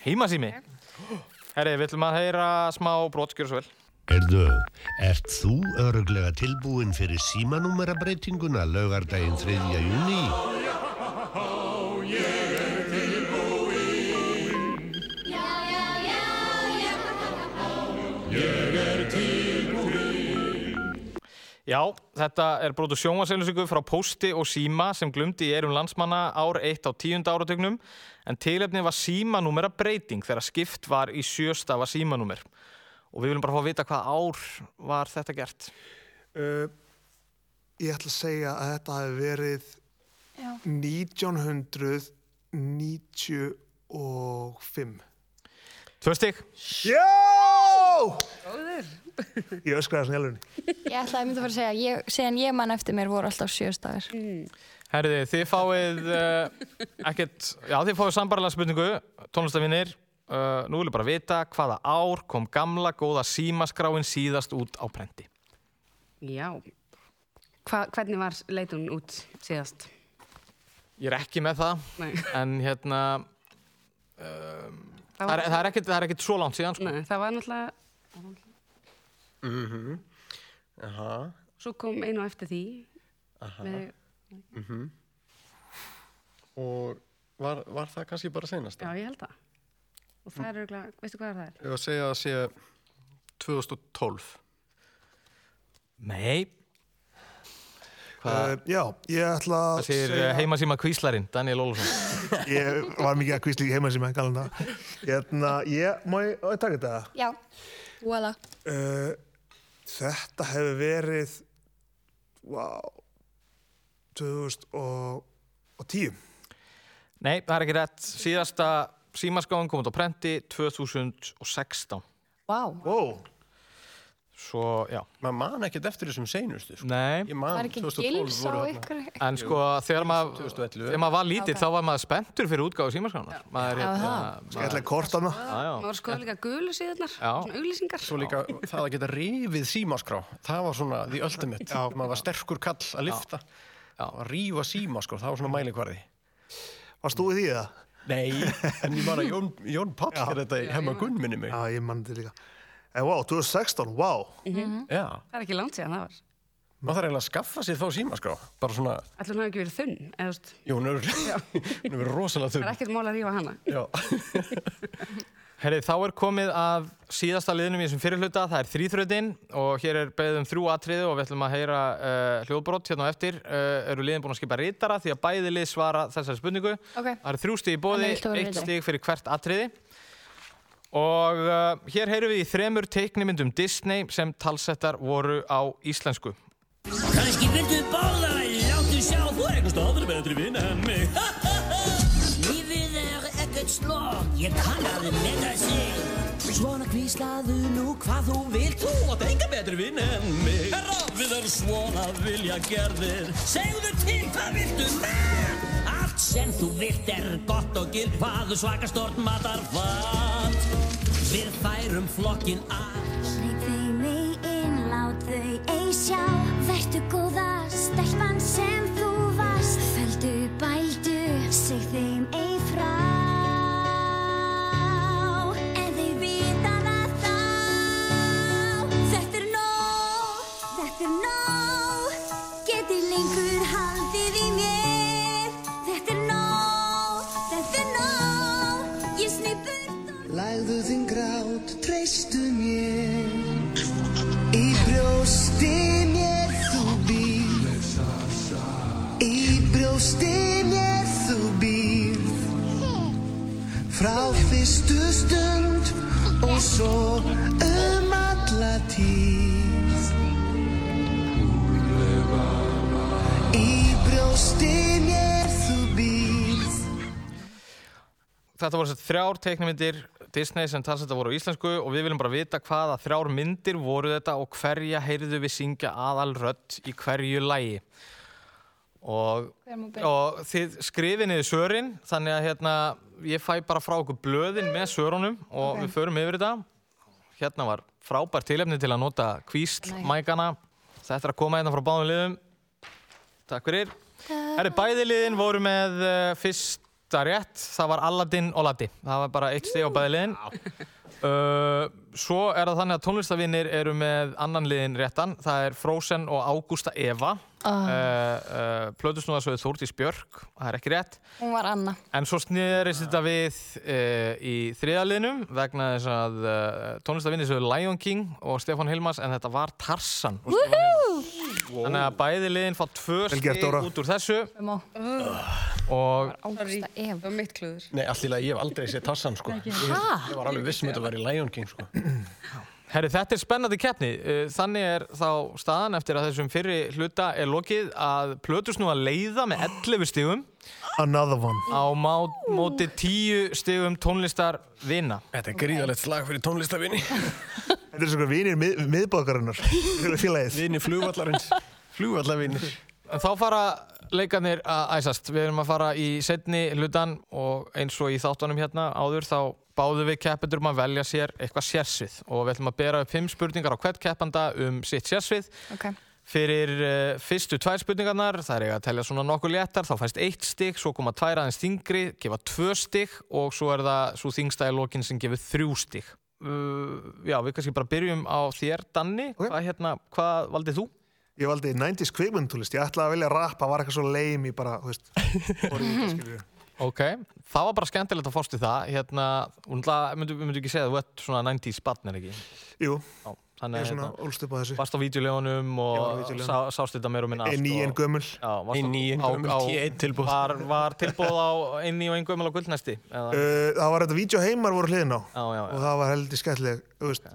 A: Heimasými. Herri, við ætlum að heyra smá brotskjör svo vel.
I: Erðu, ert þú öruglega tilbúin fyrir símanúmerabreitinguna laugardaginn 3. júni?
A: Já, þetta er brotu sjónvarseilusingu frá Pósti og Síma sem glumdi í erum landsmanna ár 1 á 10. áratögnum en tilefni var símanúmera breyting þegar skipt var í sjöstafa símanúmer og við viljum bara fá að vita hvað ár var þetta gert.
B: Uh, ég ætla að segja að þetta hafi verið
C: Já.
B: 1995.
A: Tvö stygg.
B: Já! [LAUGHS] Ég öskraði svona í alvegni.
C: Ég ætlaði að mynda að fara að segja, ég, síðan ég man eftir mér voru alltaf sjöstaðir.
A: Herði, þið fáið uh, ekkert, já þið fáið sambarlega spurningu, tónlistafinnir, uh, nú viljum bara vita hvaða ár kom gamla góða símaskráin síðast út á prenti.
D: Já. Hva, hvernig var leitun út síðast?
A: Ég er ekki með það,
D: Nei,
A: en hérna, eh,
D: það
A: það
D: var,
A: er, það er, ekkert, það er ekkert svo langt síðan, sko.
D: nei, það var náttúrulega,
E: Mhm. Aha,
D: svo kom einu á eftir því. Með,
E: og var, var það kannski bara senast?
D: já, ég held það. Og það er örgulega, veistu hvað það er?
E: Ég var að segja að sé 2012
A: Nei, Eh, hvað
B: Uh, Eh, já, ég ætla að
A: það segir uh, heimasíma kvíslarinn, Daniel Olsson.
B: [LAUGHS] Ég var mikið að kvísla í heima sem ég kallan það. Hérna, ég, má ég, á, ég taka þetta?
C: Já. Voila.
B: Uh, þetta hefur verið, wow, 2010.
A: Nei, það er ekki rétt, síðasta símaskráin kom út á prenti 2016,
C: Vá.
B: Wow.
A: svo já,
E: maður man ekkert eftir þessum seinustu sko.
A: nei.
E: ég man
C: Var ekki gils á
E: voru þarna.
C: ykkur?
A: En sko þegar maður,
E: 2011.
A: þegar maður var lítill þá var maður spenntur fyrir útgáðu símaskránar. Maður,
C: Já,
A: hérna,
B: Ég ætla
A: maður,
B: að korta hana.
A: já,
D: Það
A: já.
D: voru skoða líka gulu síðanar,
A: Já.
D: svona auglýsingar.
E: svo líka það að geta rifið símaskrá það var svona the ultimate maður var sterkur kall að lifta að rífa símaskrá, það var svona mælikvarði
B: Varst þú í því það?
E: nei, en ég man að Jón, Jón Páll er þetta í hefma gunn minni mig
B: Já, ég mann þetta líka. Eh, En wow, 2016, wow.
D: Mm.
E: já,
D: Það er ekki langt síðan það var.
E: maður þarf eiginlega að skaffa sér þá símaskrá bara svona,
D: Ætli hún hafi ekki verið þunn, eða þú veist,
E: jú, hún er, [LAUGHS] hún er rosalega
D: það er
E: þurr
D: ekkert mál að rífa hana.
E: já,
A: Herri, þá er komið að síðasta liðnum í þessum fyrirhluta, það er þrýþröðin og hér er beðið um þrjú atriði og við ætlum að heyra uh, hljóðbrott hérna á eftir. Uh, eru liðin búin að skipa rítara því að bæði lið svara þessari spurningu.
C: Ok.
A: Það eru þrjú stig í bóði,
C: Þannig viltu vera
A: eitt
C: ritari.
A: stig fyrir hvert atriði. Og uh, hér heyrum við í þremur teiknimyndum Disney sem talsettar voru á íslensku.
F: Kanski vildu báðar að láttu sjá Þú er eitthvað stofur betri vinn en mig [LAUGHS] Lífið er ekkert slokk Ég kann að meta sig Svona hvíslaðu nú hvað þú vilt Þú átt enga betri vinn en mig Herra, við erum svona vilja gerðir Segðu til hvað viltu með Allt sem þú vilt er gott og gild Hvað svaka stort matar fatt Við færum flokkin að
G: Sleip þau mig inn, lát þau ei sjá Vertu góða, stelpan sem þú varst Fældu bældu
J: Lægðu þinn grát, treystu mér Í brjósti mér þú býr Í brjósti mér þú býr Frá fyrstu stund og svo um alla tíð Í brjósti mér þú býr
A: Þetta voru þessar þrjár teiknumyndir Disney sem talsetta voru á íslensku og við viljum bara vita hvaða þrjár myndir voru þetta og hverja heyrðu við syngja aðal rödd í hverju lægi. Og,
C: Hver má byrja?
A: og þið skrifið niður svörin þannig að hérna, ég fæ bara frá okkur blöðin með svörunum og
C: Ok.
A: við förum yfir þetta. Hérna var frábær tilefni til að nota kvísl
C: Nei.
A: mækana. Þetta er að koma hérna frá báðum liðum. Takk fyrir. Herri, bæði liðin voru með uh, fyrsta rétt, það var Aladdin og Latti. Það var bara eitt steg á bæði liðin. Uh, svo er það þannig að tónlistavinnir eru með annan liðin réttan. Það er Frozen og Ágústa Eva. Uh, uh, Plötusnúðarsöðu Þórdís Björk, það er ekki rétt.
K: Hún var Anna.
A: En svo snýðurist
B: Ah.
A: þetta við uh, í þriðaliðnum vegna þess að uh, tónlistavinnir sögðu Lion King og Stefán Hilmas en þetta var Tarsan.
K: Woohoo!
A: Þannig að bæði liðin fá tvö
B: Vel gert,
A: stig
B: Dóra.
A: út úr þessu
K: Má.
A: og
K: Ágústa Eva. Það var mitt klúður.
E: Nei, allt í lagi, ég hef aldrei séð Tassan, sko. Ég,
K: Ha?
E: ég var alveg viss um að þetta var í Lion King, sko.
A: Herri, þetta er spennandi keppni. Eh, Þannig er þá staðan eftir að þessum fyrri hluta er lokið að Plötus nú að leiða með 11 stigum
B: Another one.
A: á má- móti 10 stigum tónlistar vina.
E: Þetta er gríðalegt slag fyrir tónlistavinni.
B: [LAUGHS] Þetta er svona vinir mið, miðbókarinnar. Þeir eru [LAUGHS] félagið.
E: Vinni flugvallarins. Flugvallavinnir.
A: En þá fara leikarnir að æsast. Við erum að fara í setni hlutan og eins og í þáttunum hérna áður þá báðum við keppendur um að velja sér eitthvað sérsvið og við ætlum að bera upp 5 spurningar á hvert keppanda um sitt sérsvið
K: Ok.
A: Fyrir uh, fyrstu tvær spurningarnar, það er ég að telja svona nokkuð léttar, þá fæst eitt stygg, svo koma tvær aðeins þingri, gefa tvö stygg og svo er það svo þingsta í lokin sem gefur þrjú stygg. Uh, já, við kannski bara byrjum á þér, Danni. Hvað, hérna, hvað valdið þú?
B: Ég valdi 90s kvikmyndtúlist. Ég ætlaði að velja rappa, var eitthvað svo leim í bara, þú veist, orðið
D: [LAUGHS]
B: þetta skilur.
A: Ok, það var bara skemmtilegt að fórstu það. Hérna, við myndum myndu ekki segja að þú ert svona 90s barn, er ekki?
B: Jú,
A: Já,
B: ég
A: þannig
B: er
A: að
B: svona
A: hérna,
B: ólst upp á þessu.
A: varst á vídeolegunum
B: var á
A: og
B: vídeólegunum.
A: sá, sást þetta meir og minna allt.
B: Einn í einn
A: og-
B: gömul.
A: Já, varst
E: Einn í einn
A: á-
E: gömul,
A: á-
E: T1 tilboð.
A: Var, var tilbúð á inn í og einn gömul á gullnæsti? Eða?
B: Uh, það var þetta vídeo heimar voru hliðin á.
A: Já, já, já.
B: Og það var heldur skemmtileg, þú veist,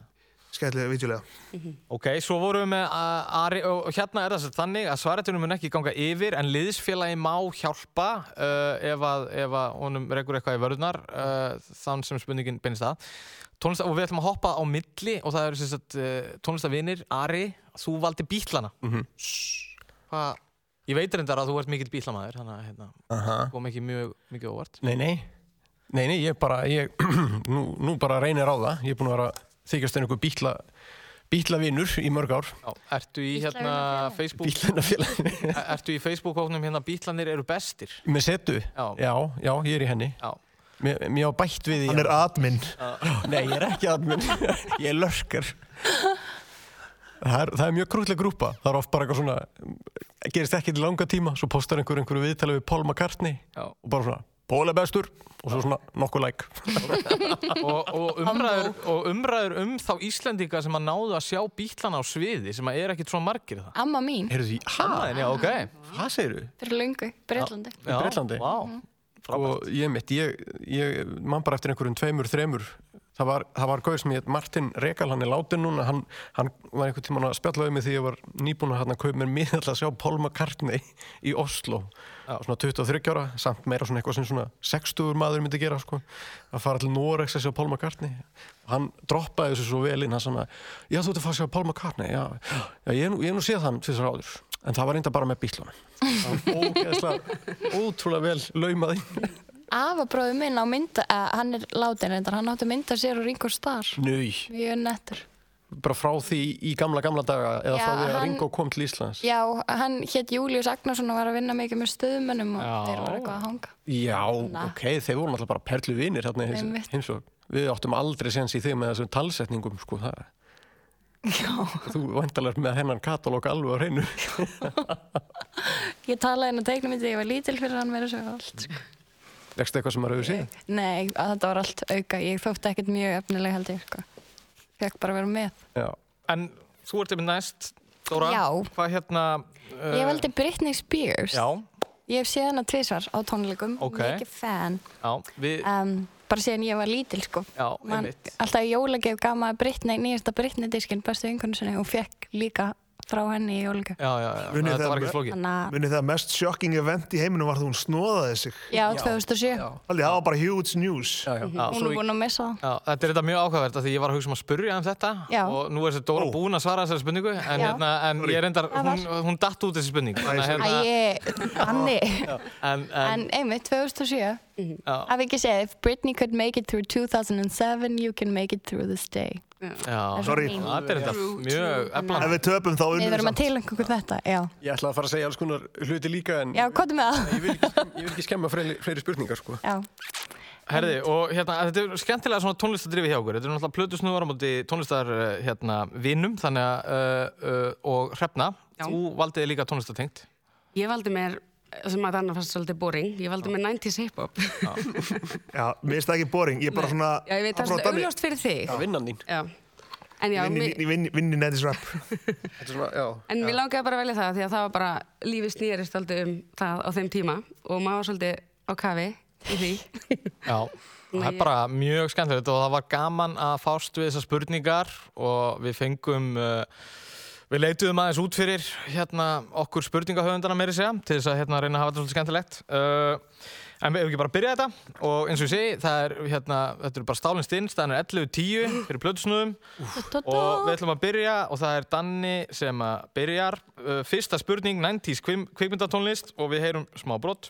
B: skemmtileg vídeolega.
A: Ok, svo vorum við með uh, Ari og og hérna er það sem sagt þannig að svaretunum mun ekki ganga yfir en liðsfélagi má hjálpa uh, ef, að, ef að honum rekur eitthvað í vörðunar uh, þann sem spurningin beinist að Tónlista, og við ætlum að hoppa á milli og það eru sem sagt uh, tónlistavinir Ari, þú valdi bítlana mm
E: Mhm.
A: -hmm. Ég veit reyndar að þú ert mikill bítlamaður þannig að hérna,
E: Aha.
A: kom ekki mjög mikið óvart
E: Nei, nei. Nei, nei, ég bara, ég, [CLEARS THROAT] nú, nú bara reynir á það. Ég er búin að vera að þykjast einhver bítla, bítlavinur í mörg ár.
A: Já, Ertu í hérna Facebook
E: Bítlanafélaginu.
A: Ertu í Facebook-hóknum hérna bítlanir eru bestir
E: [LAUGHS] Með setu?
A: Já.
E: já. Já, ég er í henni.
A: Já.
E: Mér, mér á bætt við í
B: Hann er admin.
E: Nei, ég er ekki admin. ég er lörkar. Það er, það er mjög krútlega grúpa. Það er oft bara eitthvað svona, gerist ekki til langa tíma, svo postar einhver einhverju viðtala við Paul McCartney
A: Já.
E: og bara svona, Paul er bestur og svo svona nokkuð læk.
C: [LAUGHS]
A: og, og, umræður, og umræður um þá Íslendinga sem að náðu að sjá bítlana á sviði sem að er ekkit svo margir það
C: Amma mín,
E: Heyrðu því, hæ?
A: Amaðin, já, ok
C: Ah.
E: Hvað segirðu?
C: fyrir löngu, Breitlandi.
E: Í Bretlandi?
A: Vá,
C: Mhm.
E: og ég mitt, ég, ég man bara eftir einhverjum tveimur, þremur það var, það var gauð sem ég heit Martin Rekal hann er látin núna, hann, hann var einhvern tímann að spjalla við mig því ég var nýbúin að hann að kaupa mér miða til að sjá Paul McCartney í Oslo, svona 23 ára samt meira svona eitthvað sem svona 60 maður myndi gera sko, að fara til Norex að sjá Paul McCartney og hann droppaði þessu svo vel inn, hann svona já þú ert að fara að sjá Paul McCartney, já, já ég, hef nú- ég hef nú séð hann tvisar áður en það var reynda bara með bílunum ógeðslega, ótrúlega vel laumaði
C: Afabróðu minn á mynda, eh, hann er látin reyndar, hann átti mynda sér og Ringo Starr.
E: Nau,
C: Mjög nettur.
E: bara frá því í gamla gamla daga eða
C: Já,
E: frá því að
C: hann-
E: Ringo kom til Íslands
C: Já, hann hétt Július Agnarsson og var að vinna mikið með stöðmönnum og
A: Já.
C: þeir voru eitthvað að hanga.
E: Já,
C: Na.
E: ok, þeir voru náttúrulega bara perlu vinir hérna í
C: Einmitt.
E: hins og við áttum aldrei sens í þeim með þessum talsetningum sko, það,
C: Já.
E: þú vandalar með hennan katalóg alveg á hreinu
C: Ég talaði hennar teiknum í því, ég var lítil fyrir hann meira svo allt. Sko.
E: Vekstu eitthvað sem maður hefur séð?
C: Nei, að þetta var allt auka. Ég þótti ekkert mjög efnileg held ég, sko. Fekk bara að vera með.
E: Já.
A: En þú ert yfir næst, Dóra.
C: Já.
A: Hvað hérna... Uh,
C: Ég veldi Britney Spears.
A: Já,
C: Ég hef séð hana tvisvar á tónleikum.
A: Ok.
C: Mikið fan.
A: já, við...
C: Um, bara síðan ég var lítil, sko.
A: já,
C: Man,
A: einmitt.
C: alltaf í jólagjöf gaf maður Britney, nýjasta Britney diskinn, bestu vinkunni sinni og fekk líka frá henni í jólagjöf.
A: Já, já, já.
B: Munið
A: Þetta var ekki
B: þegar,
A: flókið.
C: Þannig
B: munið þegar mest shocking event í heiminum var þegar hún snóðaði sig.
C: Já, 2007. Já.
B: Alveg, það var bara huge news. Já,
E: já.
C: Hún er búin að missa það.
A: Já, þetta er þetta mjög ákvæðvert að því ég var að hugsa um að spurja um þetta
C: Já.
A: og nú er þessi Dóra búin að svara þessari spurningu en,
C: Já.
A: hérna, en ég reyndar, hún, hún datt út þessi spurning hérna, en,
C: Æ, hannig.
A: en, en,
C: [LAUGHS] En einmitt, 2007.
A: Mhm. Já.
C: Af ekki segið, if Britney could make it through 2007, you can make it through this day.
A: já,
C: Það er
B: sorry.
C: svo fín.
A: þetta er þetta mjög
B: Ef
A: eflan
B: við töpum þá
C: Við
B: unnum
C: verðum að tilengja okkur þetta, já.
E: Ég ætlaði að fara að segja alls konar hluti líka en
C: Já, hvað er með það?
E: ég vil ekki, skemm- ég vil ekki skemma fleiri, fleiri spurningar sko.
C: Já,
A: Herði, og hérna, þetta er skemmtilega svona tónlistadrifi hjá okkur þetta er náttúrulega plötusnúðar á móti tónlistar eh, hérna, vinum þannig að uh, uh, og hrefna,
D: Já.
A: þú valdiði líka tónlistatengt
D: Ég valdi mér, sem að þannig fannst svolítið boring, ég valdi mér 90s hip-hop.
B: Já, mér finnst það ekki boring. Ég er bara svona...
D: [LAUGHS] Já, ég veit, það er
B: bara
D: svona
B: þannig-
D: augljóst fyrir þig.
E: Vinnan þín
D: Já. En já,
B: Ég vinn í-
D: mér,
B: ég vinn- vinn í netis rap.
E: Þetta er svona, já,
D: En mér langaði bara að velja það því að það var bara lífið snýrist alltaf um það á þeim tíma og maður var svolítið á kafi í því.
A: Já, það er bara mjög skemmtilegt og það var gaman að fást við þessar spurningar og við fengum, uh, við leituðum aðeins út fyrir hérna okkur spurningahöfundana meiri segja til þess að hérna reyna að hafa þetta svolítið skemmtilegt. Uh, en við hefum ekki bara að byrja þetta og eins og ég segi, það er hérna, þetta eru bara stálinn stinn, staðan er 11.10 fyrir plötusnöðum og við ætlum að byrja og það er Danni sem að byrjar. Uh, fyrsta spurning, 90s kvim, kvikmyndatónlist og við heyrum smá brott.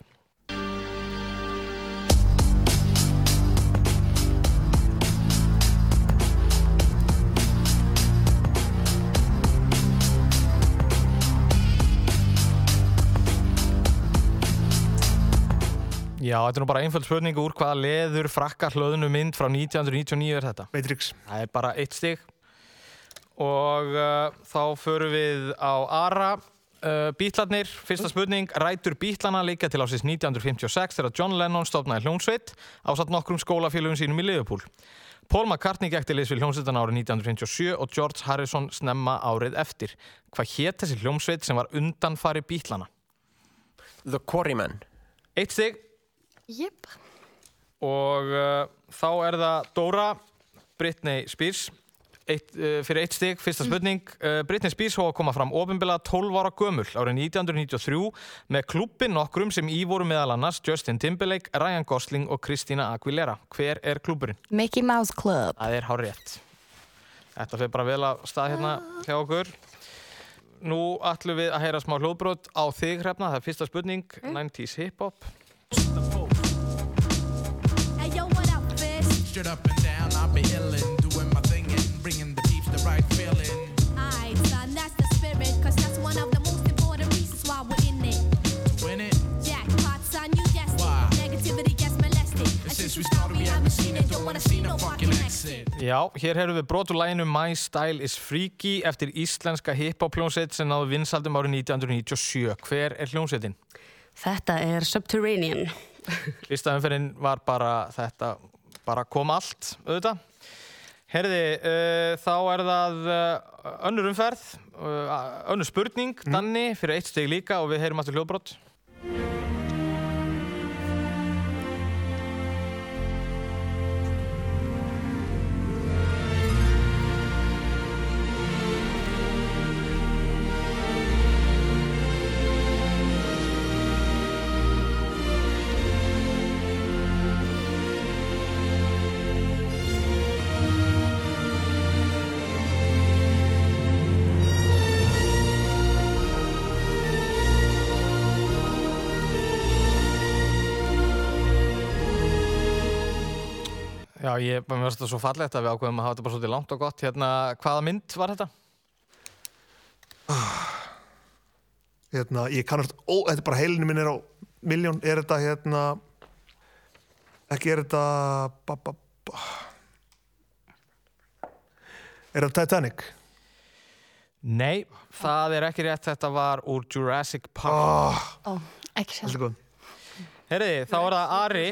A: Já, þetta er nú bara einföld spurning úr hvaða leður frakka hlöðnu mynd frá 1999 er þetta?
B: Matrix.
A: Það er bara eitt stig og uh, þá förum við á Ara uh, Bítlarnir, fyrsta spurning Rætur Bítlana líka til ásins 1956 þegar John Lennon stofnaði hljónsveit ásatt nokkrum skólafélögum sínum í Liverpool Paul McCartney gekti liðs við hljómsveitan árið 1957 og George Harrison snemma árið eftir Hvað hétt þessi hljómsveit sem var undanfari Bítlana?
E: The Quarryman
A: Eitt stig
C: Jep.
A: og uh, þá er það Dóra Britney Spears eitt, uh, fyrir eitt stig, fyrsta spurning uh, Britney Spears hóða að koma fram ofinbilað 12 ára gömul árið 1993 með klubbin nokkrum sem í voru meðal annars Justin Timberlake, Ryan Gosling og Christina Aguilera hver er klubburinn?
C: Mickey Mouse Club.
A: Það er hár rétt Þetta fyrir bara vel að stað hérna hjá okkur Nú ætlum við að heyra smá hljóðbrot á þig hrefna, það er fyrsta spurning 90s hip-hop
L: Hey, yo, what up, fish? Straight up and down, I'll be illin', doing my thing and bringing the peeps the right feeling.
M: Alright, son, that's the spirit, cause that's one of the most important reasons why we're in it.
L: Win it?
M: Jackpot, son, you guessed
L: Why?
M: it. Negativity gets molested.
L: And since we started, we haven't seen it, don't wanna see no fucking exit.
A: Já, hér hefur við brot úr læginu My Style is Freaky eftir íslenska hiphop-hljónsett sem náðu vinsaldum árið 1997. Hver er hljónsettin?
D: [LAUGHS] Þetta er Subterranean.
A: Fyrsta umferðin var bara þetta, bara kom allt, auðvitað. Herði, uh, þá er það uh, önnur umferð, uh, önnur spurning, Danni, fyrir eitt steg líka og við heyrum aftur hljóðbrot. Já, ég mér finnst þetta svo fallegt að við ákveðum að hafa þetta bara svolítið langt og gott. Hérna, hvaða mynd var þetta?
B: Hérna, ég kannast... Ó, þetta er bara heilinu minn er á miljón. Er þetta, hérna... Ekki er þetta... Ba, ba, ba. Er þetta Titanic?
A: Nei, það er ekki rétt, þetta var úr Jurassic Park.
B: Oh,
C: Ó, ekki sér.
B: Alltaf góð.
A: Herriði, þá er það Ari.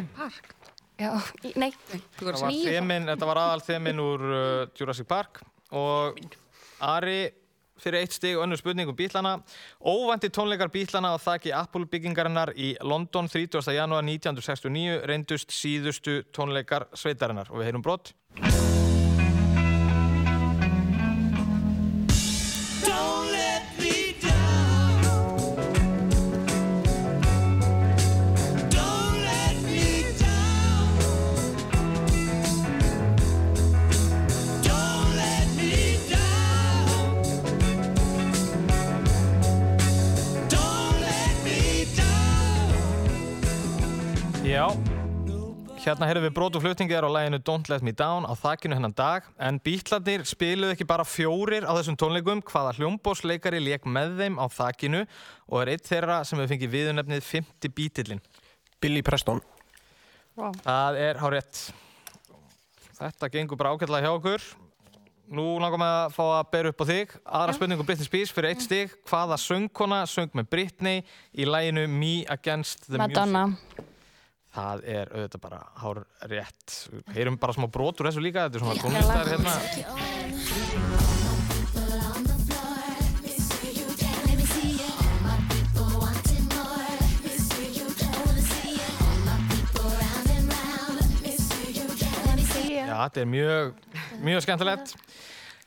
C: Já, í- nei.
A: Það var þemin, þetta var aðal þemin úr uh, Jurassic Park og Ari fyrir eitt stig og önnur spurning um bílana. Óvænti tónleikar bílana á þakki Apple byggingarinnar í London 30. janúar 1969 reyndust síðustu tónleikar sveitarinnar og við heyrum brott.
J: Don't let me down. Don't let me down. Don't let me down. Don't let me down.
A: Já, hérna heyrðum við brot og flutningar á læginu Don't Let Me Down á þakkinu hennan dag en bítlarnir spiluðu ekki bara fjórir á þessum tónleikum hvaða hljómbósleikari leik með þeim á þakkinu og er eitt þeirra sem hefur fengið viðunefnið 50 bítillin
E: Billy Preston
K: Vá.
A: Það er hárétt Þetta gengur bara ágætlega hjá okkur Nú langar með að fá að bera upp á þig aðra spurning um Britney Spears fyrir eitt stig hvaða söngkona söng með Britney í læginu Me Against the Music
C: Madonna.
A: Það er auðvitað bara hár rétt. Heyrum bara smá brot úr þessu líka, þetta er svona tónlistar hérna. Já, þetta er mjög, mjög skemmtilegt.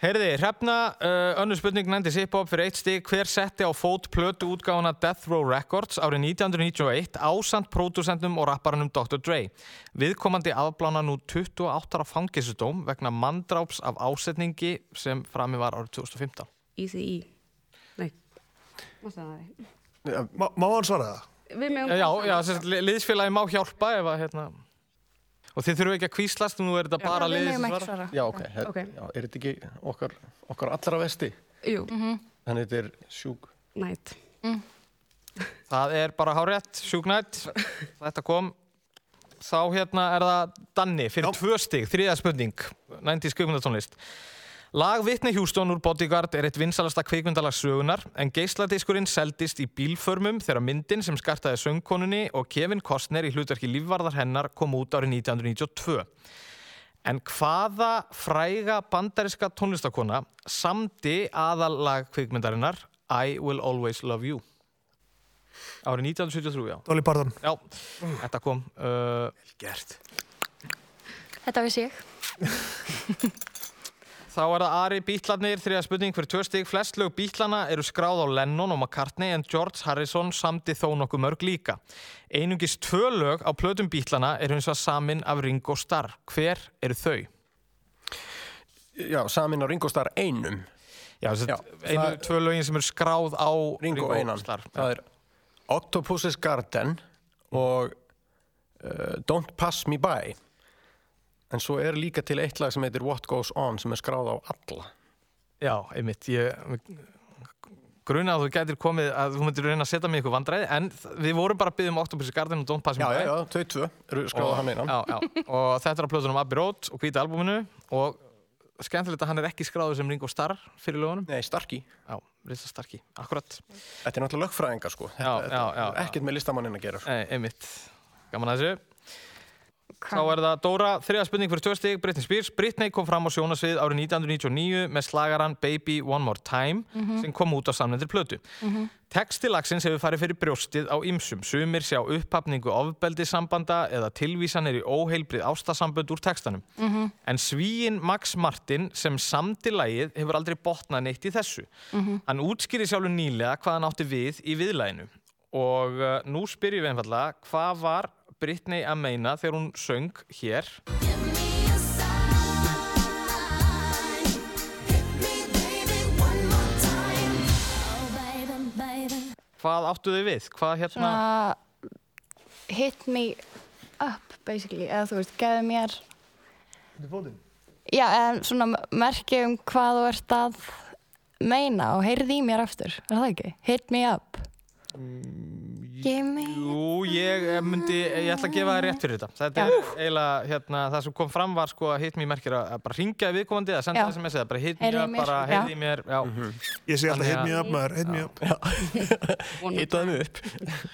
A: Heyrði, Hrefna, uh, önnur spurning nefndi Sipop fyrir eitt stig. Hver setti á fót plötu útgáfuna Death Row Records árið 1991 ásamt pródusendum og rapparanum Dr. Dre? Viðkomandi afblána nú 28 fangisudóm vegna manndráps af ásetningi sem frami var árið 2015.
D: Easy E. Nei. Má segja það þig.
B: Má má hann svara það?
D: Við meðum...
A: Já, já, sérst, li- liðsfélagi má hjálpa ef að, hérna... Og þið þurfum ekki að kvíslast, nú er þetta bara
C: um
D: við
A: liðið
D: megum
A: sem
D: ekki
A: svarar.
D: svara.
E: Já, ok. Her,
D: Ok.
E: Já, er þetta ekki okkar, okkar allra vesti?
D: Jú.
E: Þannig þetta er sjúk.
D: Nætt.
A: Það er bara hárétt, sjúknætt. Þetta kom. Þá hérna er það Danni fyrir tvö stig, þriða spurning, 90s kvikmyndatónlist. Lag Vitni Hjústón úr Bodyguard er eitt vinsalasta kvikmyndalags sögunar en geisladiskurinn seldist í bílförmum þegar myndin sem skartaði söngkonunni og Kevin Costner í hlutverki lífvarðar hennar kom út árið 1992. En hvaða fræga bandariska tónlistakona samdi aðalag kvikmyndarinnar I Will Always Love You? Árið 1973, já.
B: Dolly Parton.
A: Já, þetta kom. Uh, Vel gert.
C: Þetta vissi ég.
A: Þá er það Ari Bítlarnir, þriða spurning fyrir tvö stig. Flest lög Bítlana eru skráð á Lennon og McCartney en George Harrison samdi þó nokkuð mörg líka. Einungis tvö lög á plötum Bítlana eru hins vegar samin af Ringo Starr. Hver eru þau?
E: Já, samin á Ringo Starr einum.
A: Já, þess að einu,
E: það-
A: tvö lögin sem eru skráð á
E: Ringo, einan.
A: Starr.
E: Það er Octopus's Garden og uh, Don't Pass Me By. En svo er líka til eitt lag sem heitir What Goes On sem er skráð á alla.
A: Já, einmitt. Ég gruna að þú gætir komið að þú myndir reyna að setja mig í ykkur vandræði en þ- við vorum bara að byggja um Octopus Garden og Don't Pass Me
E: Já, já,
A: By.
E: já, þau tvö eru skráð á
A: Og-
E: hann einan.
A: já, já. og þetta er á plötunum Abbey Road og hvíta albúminu og skemmtilegt að hann er ekki skráður sem Ringo Starr fyrir lögunum
E: Nei, Starkey
A: Já, Risa Starkey, akkurat
E: Þetta er náttúrulega lögfræðingar sko. Þetta,
A: Já, já, já.
E: þetta er ekkert með listamanninn að gera. Sko.
A: Nei, einmitt, gaman að þessu Þá er það Dóra, þriða spurning fyrir tvö stig, Britney Spears. Britney kom fram á sjónasvið árið 1999 með slagaran Baby One More Time
N: Mhm.
A: sem kom út á samlendir plötu.
N: Mhm.
A: Texti lagsins hefur farið fyrir brjóstið á ymsum. Sumir sjá upphafningu ofbeldisambanda eða tilvísanir í óheilbrið ástasambönd úr textanum.
J: Mhm.
A: En svíin Max Martin sem samdi lagið hefur aldrei botnað neitt í þessu.
C: Mhm.
A: Hann útskýri sjálfur nýlega hvað hann átti við í viðlæginu og uh, nú spyrjum við einfallega hvað var Britney að meina þegar hún söng hér
M: Oh,
A: hvað áttu þau við? Hvað hérna?
C: Svona hit me up basically, eða þú veist, gefðu mér já, eða svona merki um hvað þú ert að meina og heyrði í mér aftur, er það ekki? Hit me up Give me
A: Mm, Jú, ég eh, myndi, ég ætla að gefa það rétt fyrir þetta. Þetta er eiginlega, hérna, það sem kom fram var sko að hit me merkir að að bara ringja í viðkomandi eða senda
C: Já.
A: sms eða bara hit me
C: Heyrðu í
A: up,
C: mér,
A: bara
C: já.
A: heyrði í mér, já.
B: Ég segi alltaf
A: Þannig
B: hit me
A: að-
B: up maður, hit me up.
E: Hitaðu mig upp.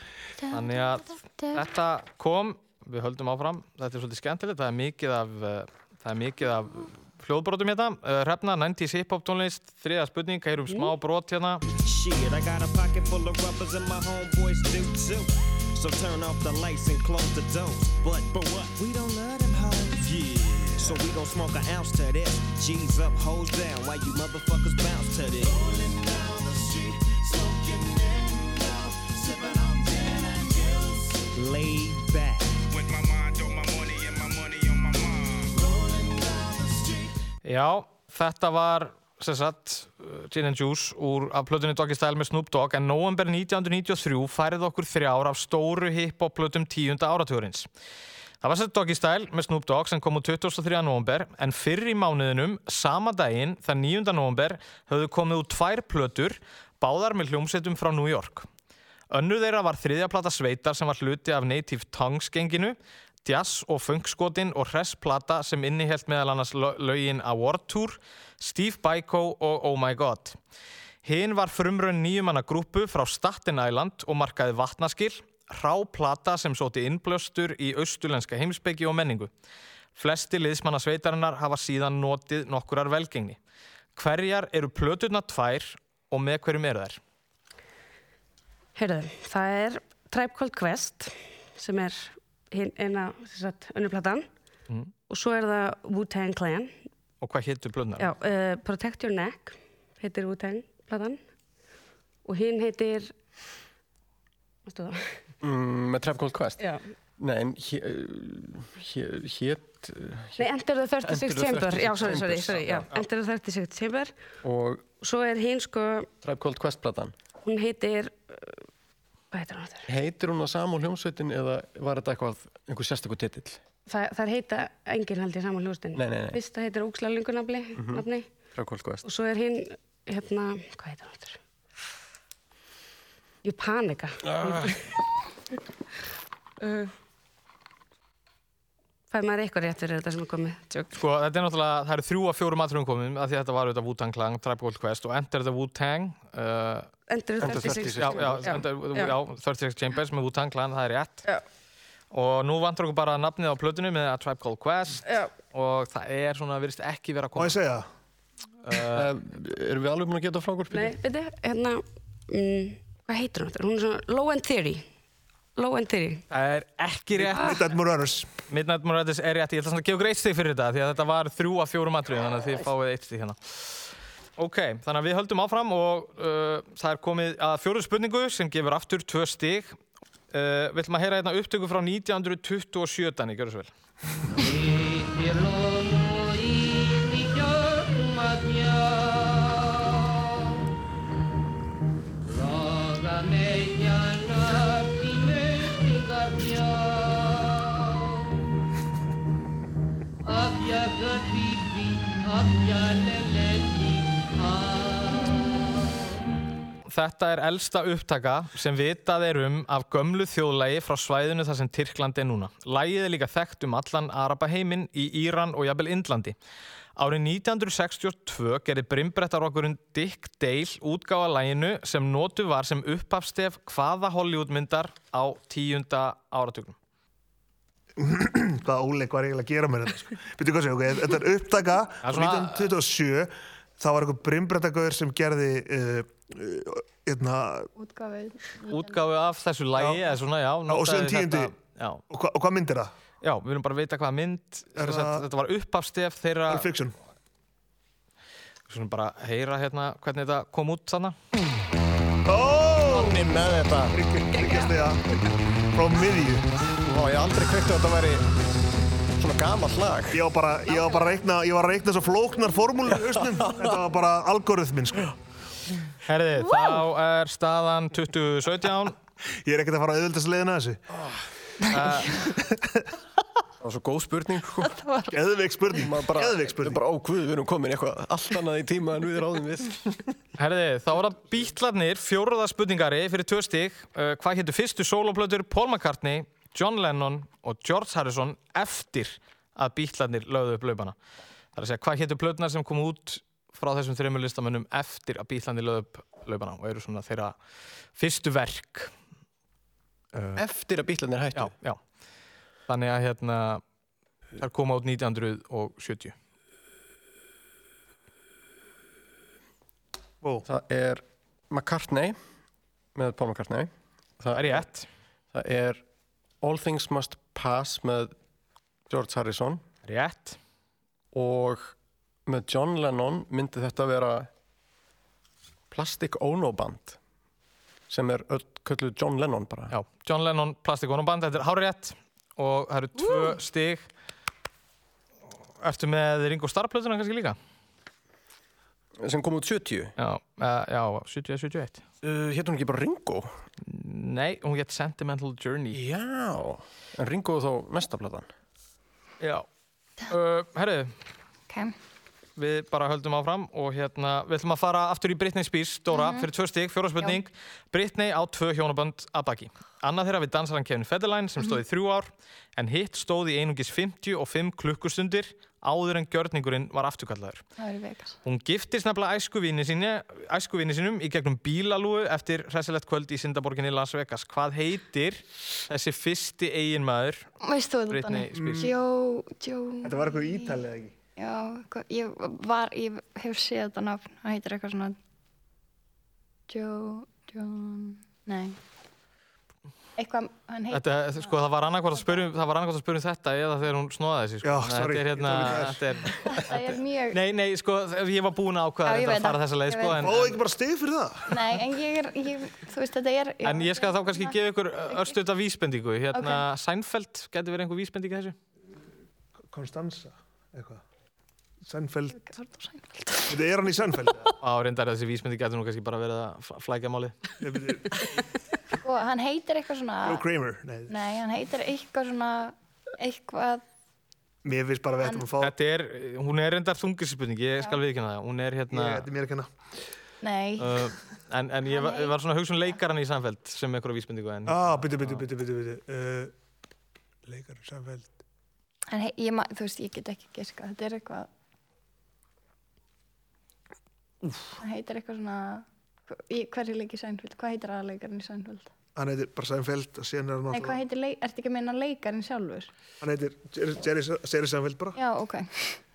A: Þannig að þetta kom, við höldum áfram, þetta er svolítið skemmtilegt, það er mikið af, uh, það er mikið af hljóðbrotum hérna, uh, Hrefna, 90s hip-hop tónlist, þriða spurning, heyrum smá brot hérna.
N: Shit, I got a pocket full of rubbers and my homeboys do too. So turn off the lights and close the doors. But but what? We don't love them hoes. Yeah. So we gon' smoke an ounce to this. G's up, hoes down. Why you motherfuckers bounce to this? Rolling down the street, smoking in love, sipping on gin and juice. Laid back. With my mind on my money and my money on my mind. Rolling down the street.
A: Já, þetta var sem sagt uh, Gin and Juice úr af plötunni Doggy Style með Snoop Dogg en november 1993 færið okkur þrjár af stóru hiphop plötum tíunda áratugurins. Það var sett Doggy Style með Snoop Dogg sem kom úr 23. november en fyrr í mánuðinum, sama daginn, þann 9. november, höfðu komið úr tvær plötur, báðar með hljómsettum frá New York. Önnur þeirra var þriðja plata Sveitar sem var hluti af Native Tongues genginu, jazz og funkskotin og hressplata sem innihelt meðal annars lö- lögin Award Tour, Steve Biko og Oh My God. Hinn var frumrönn nýjumanna grúpu frá Staten Island og markaði vatnaskil, ráplata sem sóti innblöstur í austulenska heimsbyggi og menningu. Flesti liðsmanna sveitarinnar hafa síðan notið nokkurar velgengni. Hverjar eru plöturnar tvær og með hverjum eru þær?
D: Heyrðu, það er Tribe Called Quest sem er hin- eina, sem sagt, önnurplatan
E: Mhm.
A: Mm.
D: og svo er það Wu-Tang Clan
A: Og hvað héttu plöturnar?
D: Já, uh, Protect Your Neck heitir Wu-Tang platan og hinn heitir Vastu það?
E: Mm, með Trap Cold Quest?
D: Já.
E: Nei, en hé- hé- hét... uh,
D: Nei, Enter the 36
E: Enter the
D: Chamber
E: 36
D: Já, sorry, sorry,
E: Chambers,
D: sorry
E: já,
D: já. Enter the 36 Chamber
E: Og
D: Svo er hinn sko,
E: Trap Cold Quest-platan.
D: hún heitir eh, Hvað heitir hún aftur?
E: Heitir hún að sama á hljómsveitin eða var þetta eitthvað, einhver sérstakur titill?
D: Þa, það heita enginn held ég saman hljóstin
E: Nei, nei, nei.
D: Fyrsta heitir Úksla Lungunafli
E: Mhm.
D: nafni,
E: Trap Cold Quest.
D: og svo er hinn hérna, hvað heitir hún aftur? Ég panika
E: Ah.
D: uh, Fæði maður eitthvað rétt fyrir þetta sem er komið Tjók.
A: Sko, þetta er náttúrulega, það eru þrjú af fjórum aðtrúum komum af því að þetta var auðvitað Wu-Tang Clan, Tribe Called Quest og Enter the Wu-Tang uh,
D: Enter the 36
A: já, já,
D: Já,
A: Enter,
D: já.
A: já, 36 Chambers með Wu-Tang Clan, það er rétt
D: já.
A: og nú vantur okkur bara nafnið á plötunum með að Tribe Called Quest
D: já.
A: og það er svona, virðist ekki vera að
B: Má
A: koma
B: ég segja það?
A: uh,
E: Eh, Erum við alveg búin að geta frá okkur?
D: Nei, veitu, hérna mm, Hvað heitir hún aftur? Hún er svona Low End Theory Low End Theory
A: Það er ekki rétt
B: Midnight Marauders
A: Midnight Marauders er rétt, ég ætla samt að gefa greitt stig fyrir þetta því að þetta var þrjú af fjórum aðtrúum þannig að þið fáið eitt stig hérna Ok, þannig að við höldum áfram og uh, það er komið að fjóru spurningu sem gefur aftur tvö stig uh, Vill maður heyra hérna upptöku frá 1927 Danni, gjör þessu vel Þetta er elsta upptaka sem vitað er um af gömlu þjóðlægi frá svæðinu þar sem Tyrkland er núna. Lægið er líka þekkt um allan Arabaheiminn í Íran og jafnvel Indlandi. Árið 1962 gerði brimbrettarokkurinn Dick Dale útgáfa læginu sem notu var sem upphafstef hvaða Hollywoodmyndar á tíunda áratugum.
B: [LAUGHS] Hvað óleik var eiginlega að gera mér [LAUGHS] þetta? Sko? Býttu hvað segja, ok, þetta er upptaka
A: Það er
B: frá
A: svona-
B: 1927 það var einhver brimbrettagöður sem gerði uh, uh, hérna,
A: Útgáfu af þessu lægi, eða svona, já.
B: og síðan
A: notaði þetta-
B: tíundi.
A: Já.
B: og, hva, og hvað myndir það?
A: já, við viljum bara vita hvaða mynd.
B: Er
A: sem sagt,
B: það-
A: Þetta var upphafstef þeirra...
B: Pulp Fiction
A: Svona bara heyra hérna hvernig þetta kom út þarna.
B: Þannig
E: með þetta
B: Ríkjast þegar frá miðju
E: Vá, ég aldrei kveikt að þetta væri svona gamall lag
B: Ég var bara, ég var bara að reikna, ég var að reikna svo flóknar formúlu í hausnum Þetta var bara algoritmin, sko
A: Herði, þá er staðan 2017
B: Ég er ekkert að fara að auðvöldast leiðina að þessu
E: Það var svo góð spurning
B: var- Geðveik spurning
E: Geðveik spurning Bara ókvöð, við erum komin í eitthvað allt annað í tíma en við ráðum við [LAUGHS]
A: Herði, þá er það bítlarnir, fjóruða spurningari fyrir tvö stík uh, Hvað héttu fyrstu sóloplötur Paul McCartney, John Lennon og George Harrison eftir að bítlarnir lögðu upp laupana? Það er að segja, hvað héttu plötunar sem kom út frá þessum þreymur listamönnum eftir að bítlarnir lögðu upp laupana og eru svona þeirra fyrstu verk
E: Eftir að bílarnir hættu?
A: Já, já. Þannig að hérna, þær koma út 1970.
E: Wow. Það er McCartney með Paul McCartney Það
A: er rétt
E: Það er All Things Must Pass með George Harrison
A: Rétt
E: Og með John Lennon myndi þetta vera Plastic Ono Band sem er öll kölluð John Lennon bara
A: Já, John Lennon, Plastic Ono Band, þetta er hárétt og það eru tvö stig. Ertu með Ringo Starr-plötuna kannski líka?
E: sem kom út 70
A: Já, uh, já 70 eða 71
E: uh, Hétt hún ekki bara Ringo?
A: Nei, hún hétt Sentimental Journey
E: Já, en Ringo þá næsta platan
A: Já uh, Herðu
C: okay.
A: Við bara höldum áfram og hérna Við ætlum að fara aftur í Britney Spears, Dóra
E: Mhm.
A: Fyrir tvö stík, fjóra spurning Britney á tvö hjónabönd að baki Annað þeirra við dansarann Kevin Federline sem stóð í þrjú ár En hitt stóð í einungis 55 klukkustundir Áður en gjörningurinn var afturkallaður
C: Það eru vegar.
A: Hún giftist nefnilega æskuvini, sinni, æskuvini sinum í gegnum bílalúu eftir hressilegt kvöld í Sindaborginni Las Vegas. Hvað heitir þessi fyrsti eiginmaður?
C: Veist þú þetta?
A: Britney Spears.
C: Jó, jó.
A: Þetta var eitthvað Ítal eða
B: ekki?
C: Já, eitthvað- ég var, ég hef séð þetta nafn. Það heitir eitthvað svona... Jó, John... Nei. Eitthvað, hann heitir...
A: Þetta, sko, það var annarkvort að spyrjum, það var annarkvort að spyrjum þetta eða þegar hún snoðaði sig, sko.
B: Já,
A: Þannig að
B: sorry,
A: Þetta er hérna,
B: ég
A: þetta er,
C: Þetta er mjög...
A: nei, nei, sko, ég var búin að ákvaða
C: Já, ég
A: þetta
C: veit
A: að fara
C: það,
A: þessa leið,
C: ég
A: sko,
C: veit
A: en,
C: það. Ó,
A: en,
B: ekki bara stið fyrir það?
C: Nei, en ég er, ég, þú veist, þetta er...
A: en ég skal þá kannski gefa ykkur örstuðt af vísbendingu. Hérna, Seinfeld, getur verið einhver vísbending í
C: [LAUGHS]
A: þessu?
B: Konstanza, eitthvað. Sennfeld.
C: Sennfeld.
B: Þetta er hann í Sennfeld?
A: Á, reyndar þessi vísbending getur nú kannski bara verið að fl- flækja málið.
C: Sko, hann heitir eitthvað svona...
B: Joe Kramer, nei.
C: Nei, hann heitir eitthvað svona... Eitthvað...
B: Mér finnst bara að við ættum að fá
A: Þetta er, hún er reyndar þungisspurning, ég skal viðkynna það. Hún er hérna...
B: Ég- þetta er mér að kenna.
C: Nei.
A: Uh, en en ég, var, ég var svona að hugsa um leikaran í Seinfeld sem einhverja vísbendingu. En,
B: Ah, byttu, byttu, byttu, byttu, byttu. Uh, leikar Sennfeld.
C: Hann hei, ég, ma- þú veist, ég get ekki giska. Þetta er eitthvað... Hann heitir eitthvað svona... Í hverju leik í Sænfjöld? Hvað heitir aðleikarinn í Sænfjöld?
B: Hann heitir bara Sennfeld og síðan er hann
C: Nei, hvað
B: náttúrulega...
C: heitir leik... Ertu ekki að meina leikarinn sjálfur?
B: Hann heitir Jerry, Jerry, Jerry Sennfeld bara.
C: Já, ok.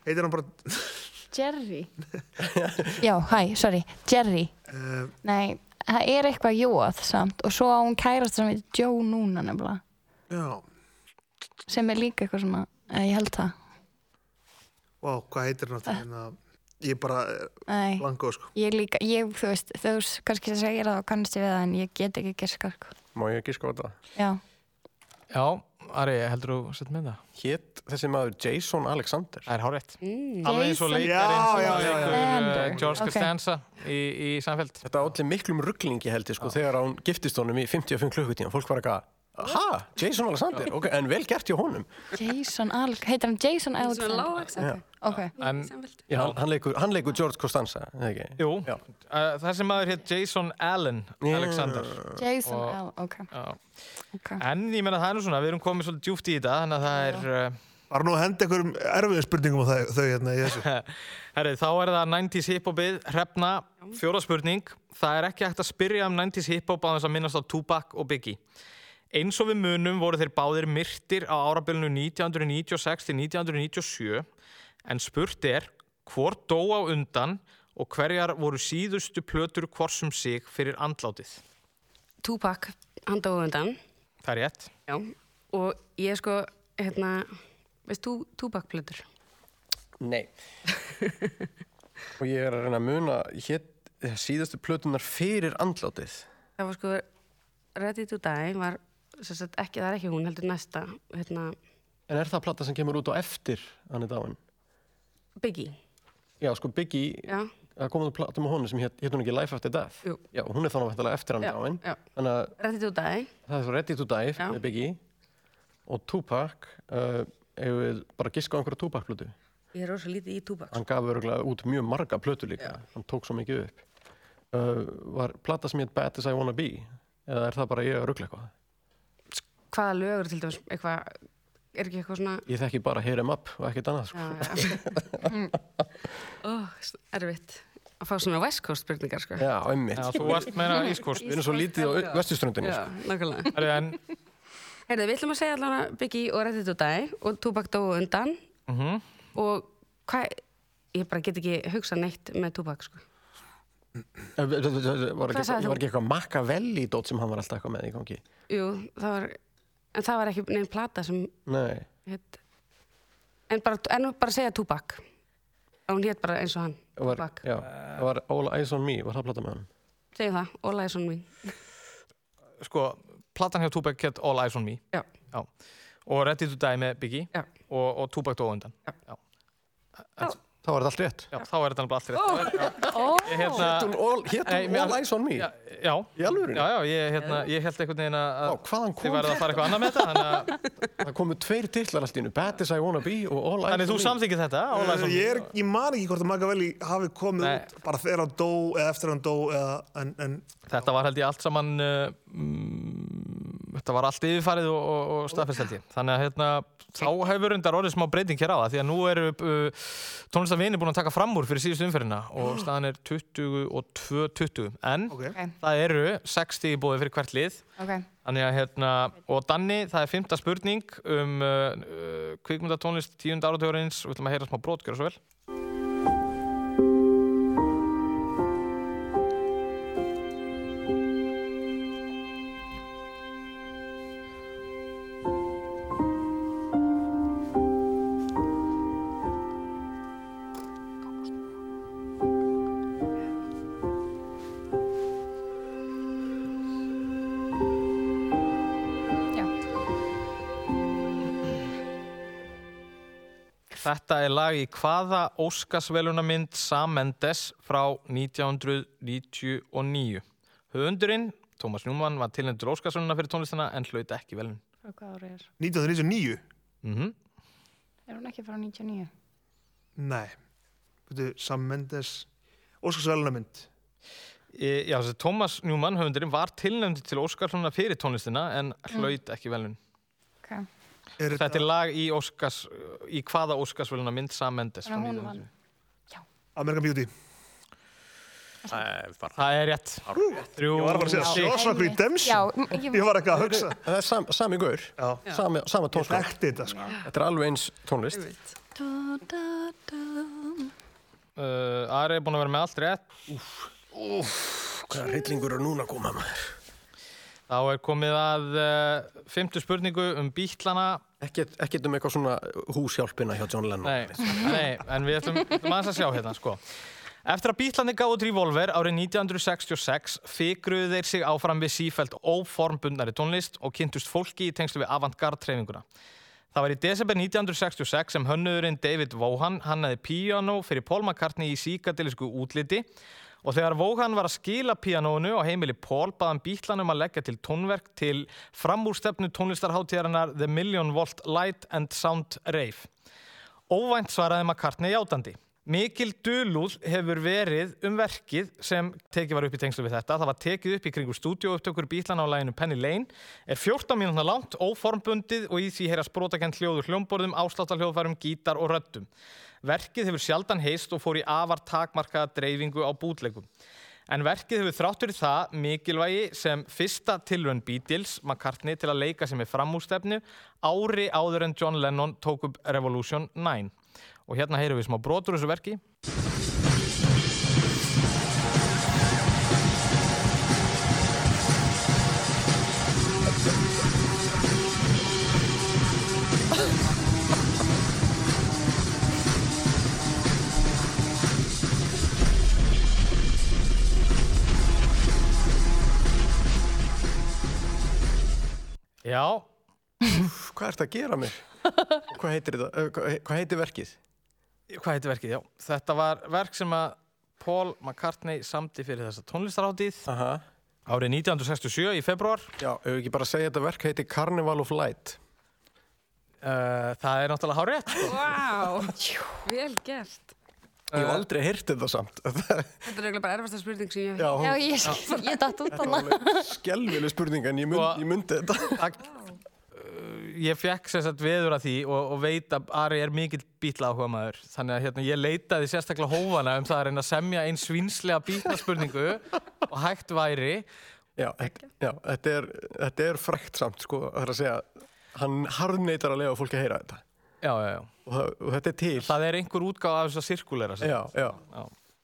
B: Heitir hann bara...
C: [LAUGHS] Jerry? Já, hæ, sorry. Jerry. Eh.
B: Uh,
C: Nei, það er eitthvað jóað samt og svo á hún kærast sem heitir Joe núna nefnilega.
B: já,
C: Sem er líka eitthvað svona... eh, Ég held það.
B: vá, hvað heitir hann aftur hérna? Ég bara
C: Nei.
B: langó, sko.
C: Ég líka, ég, þú veist, þú s- kannski segir það og kannast ég við það en ég get ekki giska, sko.
E: Má ég ekki skoða það?
C: Já.
A: Já, Ari, heldur þú sett með það?
E: Hétt þessi maður Jason Alexander
A: Það er hárétt
E: mm.
A: Alveg eins og leikarinn sem að leikur uh, George
E: Ok.
A: Costanza í, í Seinfeld
E: Þetta olli miklum rugglingi held ég sko þegar hún giftist honum í 55 klukkutíma fólk var eitthvað, ha, Jason Alexander ok, en vel gert hjá honum
C: Jason Alc, heitir hann Jason Alexander?
E: Alexander.
C: Ok,
A: En
E: Já, hann, hann, leikur, hann leikur George Costanza eða ekki?
A: Jú, uh, þessi maður hétt Jason Allen Alexander
C: Jason
A: Og-
C: Alc, ok.
A: En ég menna það er nú svona, við erum komið svolítið djúpt í þetta Þannig að það er uh,
B: Var nú að henda einhverjum erfiðum spurningum á þau, þau hérna í þessu.
A: Herri, þá er það 90s hiphopið, hrefna, fjóra spurning. Það er ekki hægt að spyrja um 90s hiphop á þess að minnast á Tupac og Biggie. Eins og við munum voru þeir báðir myrtir á árabilinu 1996 til 1997 en spurt er hvort dó á undan og hverjar voru síðustu plötur hvorsum sig fyrir andlátið.
D: Tupac, hann dói undan
A: Það er rétt.
D: Já, og ég sko, hérna, veist þú Tupac-plötur?
E: Nei [LAUGHS] Og ég er að reyna að muna hétt síðastu plötunar fyrir andlátið
D: Það var sko, Ready to Die var, sem sagt, ekki, það er ekki hún, heldur næsta, hérna,
E: En er það plata sem kemur út á eftir hann er dáin?
D: Biggie.
E: Já, sko Biggie,
D: Já.
E: það kom út plata með honum sem hétt hét hún ekki Life After Death
D: Jú.
E: Já, hún er þannig að eftir hann
D: Já,
E: er dáin
D: já.
E: Þannig að
D: Ready to Die,
E: Það er svo Ready to Die með Biggie og Tupac uh, ef við bara giska á einhverja Tupac-plötu
D: ég er rosa lítið í Tupac. sko.
E: hann gaf örgulega út mjög marga plötu líka hann tók svo mikið upp uh, var plata sem hétt Bad as I Wanna Be eða er það bara ég að ruggla eitthvað
D: Hvaða lögur til dæmis, eitthvað, er ekki eitthvað svona,
E: ég þekki [LAUGHS] bara Hear Em Up og ekkert annað sko.
D: já, já. Ó, Mm. erfitt. að fá svona West Coast spurningar sko.
E: Já, einmitt. Já, þú varst meira East Coast. Við erum svo lítið á
D: Já.
E: vesturströndinni,
D: Já,
E: sko.
D: nákvæmlega.
A: Herri, en-
D: Heyrðu, við ætlum að segja allavega Biggie og Reddit og Dæ og Tupac dóu undan
A: Mhm.
D: og hvað, ég bara get ekki hugsað neitt með Tupac sko.
E: Var ekki, var
D: Hvað sagðir þú?
E: ekki eitthvað Machiavelli dót sem hann var alltaf eitthvað með í gangi?
D: Jú, það var, en það var ekki neinn plata sem
E: Nei.
D: hétt, en bara, en bara segja Tupac. Og hún hétt bara eins og hann,
E: Var,
D: Tupac.
E: já, það var All Eyes on Me, var það að plata með hann?
D: Segjum það, Óla er svona mín.
A: sko, platan hjá Tupac get All Eyes On Me
D: Já.
A: og Ready to Die með Biggie
D: Já.
A: og, og Tupac dó á undan Já. En-
E: Þá er þetta allt rétt
A: Já, þá er þetta alveg allt rétt
D: oh.
E: Hét hún All- hét hún All Eyes On Me?
A: hérna, Já, já.
E: Í alvöru?
A: Já, já, ég, hérna, ég held einhvern veginn að
E: Ó, hvaðan kom
A: þið verða að fara eitthvað annað með þetta þannig að-
E: Það komu tveir titlar allt í innu, Bad As I Wanna Be og All Eyes on Me.
A: Þannig þú samþykkir þetta, All Eyes On
B: ég, er,
A: Me
B: ég man ekki hvort að Machiavelli hafi komið út bara þegar hann dó eða eftir að hann dó eða, en, en
A: Þetta var held ég allt saman uh, mm, þetta var allt yfirfarið og, og, og staðfest held ég þannig að hérna, þá hefur undar orðið smá breyting hér á það því að nú eru uh, tónlistarvinni búin að taka fram úr fyrir síðustu umferðina og staðan er 22-20 en
C: Ok.
A: það eru 60 bóði fyrir hvert lið
C: Ok.
A: Þannig að hérna, og Danni, það er fymta spurning um uh, uh, kvikmyndatónlist tíund áratugurins og við ætlum að heyra smá brot, gjöra svo vel. Þetta er lag í hvaða Óskarsvelunamynd Sam Mendes frá 1999. Höfundurinn, Tómas Njúmann, var tilnendur Óskarsveluna fyrir tónlistina en hlaut ekki velun.
C: Frá hvað ári er?
B: 1999
A: Mm -hmm.
C: Er hún ekki frá 99?
B: Nei, veitu, Sam Mendes Óskarsvælunamynd
A: E, já, þessi Tómas Njúmann, höfundurinn, var tilnendur til Óskarsveluna fyrir tónlistina en hlaut ekki velun.
C: Ok.
B: Er
A: Þetta er lag í, Óskars, í hvaða Óskarsvelunamynd Sam Mendes frá
C: Þannig að hún
A: 1999.
C: vann.
B: American Beauty
A: Það er rétt. Þrjú,
B: Ég var að fara að segja
A: stig.
B: Shawshank Redemption
C: Já, ég-
B: Ég var eitthvað að hugsa
E: Það er sam, sami gaur, sami, sama tónskóla.
B: Ég þekkti þetta, sko.
E: Þetta er alveg eins tónlist.
C: Da, da, da.
A: Uh, Ari er búinn að vera með allt rétt.
E: Úff, hvaða hryllingur er núna að koma maður?
A: Þá er komið að uh, fymtu spurningu um bítlana.
E: Ekkert, ekkert um eitthvað svona húshjálpina hjá John Lennon.
A: Nei, nei, en við ætlum, ætlum aðeins að sjá hérna, sko. Eftir að bítlani gáðu út Revolver árið 1966 fikruðu þeir sig áfram við sífælt óformbundnari tónlist og kynntust fólki í tengslu við avantgarde treyfinguna. Það var í desember 1966 sem hönnuðurinn David Vaughan hannaði píanó fyrir Paul McCartney í síkadilisku útliti og þegar Vaughan var að skila píanónu á heimili Paul baðan bítlanum að leggja til tónverk til framúrstefnu tónlistarháttíðarinnar The Million Volt Light and Sound Rave. Óvænt svaraði McCartney játandi. Mikil dulúð hefur verið um verkið sem tekið var upp í tengslu við þetta. Það var tekið upp í kringu stúdíóupptökur bílana á læginu Penny Lane. Er 14 mínúna langt, óformbundið og í því heyra sprótakent hljóður hljómborðum, ásláttaljóðfærum, gítar og röddum. Verkið hefur sjaldan heist og fór í afar takmarkaða dreifingu á bútlegum. En verkið hefur þrátt fyrir það mikilvægi sem fyrsta tilrönn Beatles, McCartney, til að leika sem er framústefnu ári áður en John Lennon tók upp Revolution 9. Og hérna heyrum við smá brotur úr þessu verki. Já.
E: Úff, hvað ert að gera mér? Hvað heitir þetta? Eh, Hvað hvað heitir verkið?
A: Hvað heitir verkið? Já, þetta var verk sem að Paul McCartney samti fyrir þessa tónlistarhátíð
E: Aha.
A: árið 1967 í februar.
E: Já, ef við ekki bara segja þetta verk heitir Carnival of Light.
A: Uh, það er náttúrulega hárétt. sko.
D: Vá, vel gert.
E: Ég hef aldrei heyrt þetta samt. [LAUGHS] Þetta er
D: Þetta er eiginlega bara erfasta spurning sem ég hef.
E: Já, hún-
C: Já, ég, ég datt út á það.
E: alveg skelvileg spurning en ég, mun, ég myndi þetta.
A: Það, uh, ég fekk sem sagt veður að því og, og veit að Ari er mikill bíla áhuga maður þannig að hérna, ég leitaði sérstaklega hófana um það að reyna að semja einn svinslega
C: [LAUGHS]
A: bílaspurningu og hægt væri
E: [LAUGHS] Já, þetta, já, þetta er, þetta er frækt samt, sko, það er að segja, hann harðneitar að lega fólki að heyra þetta.
A: Já, já, já.
E: Og, það, og þetta er til.
A: Það er einhver útgáð af þess að sirkulera
E: Já, já.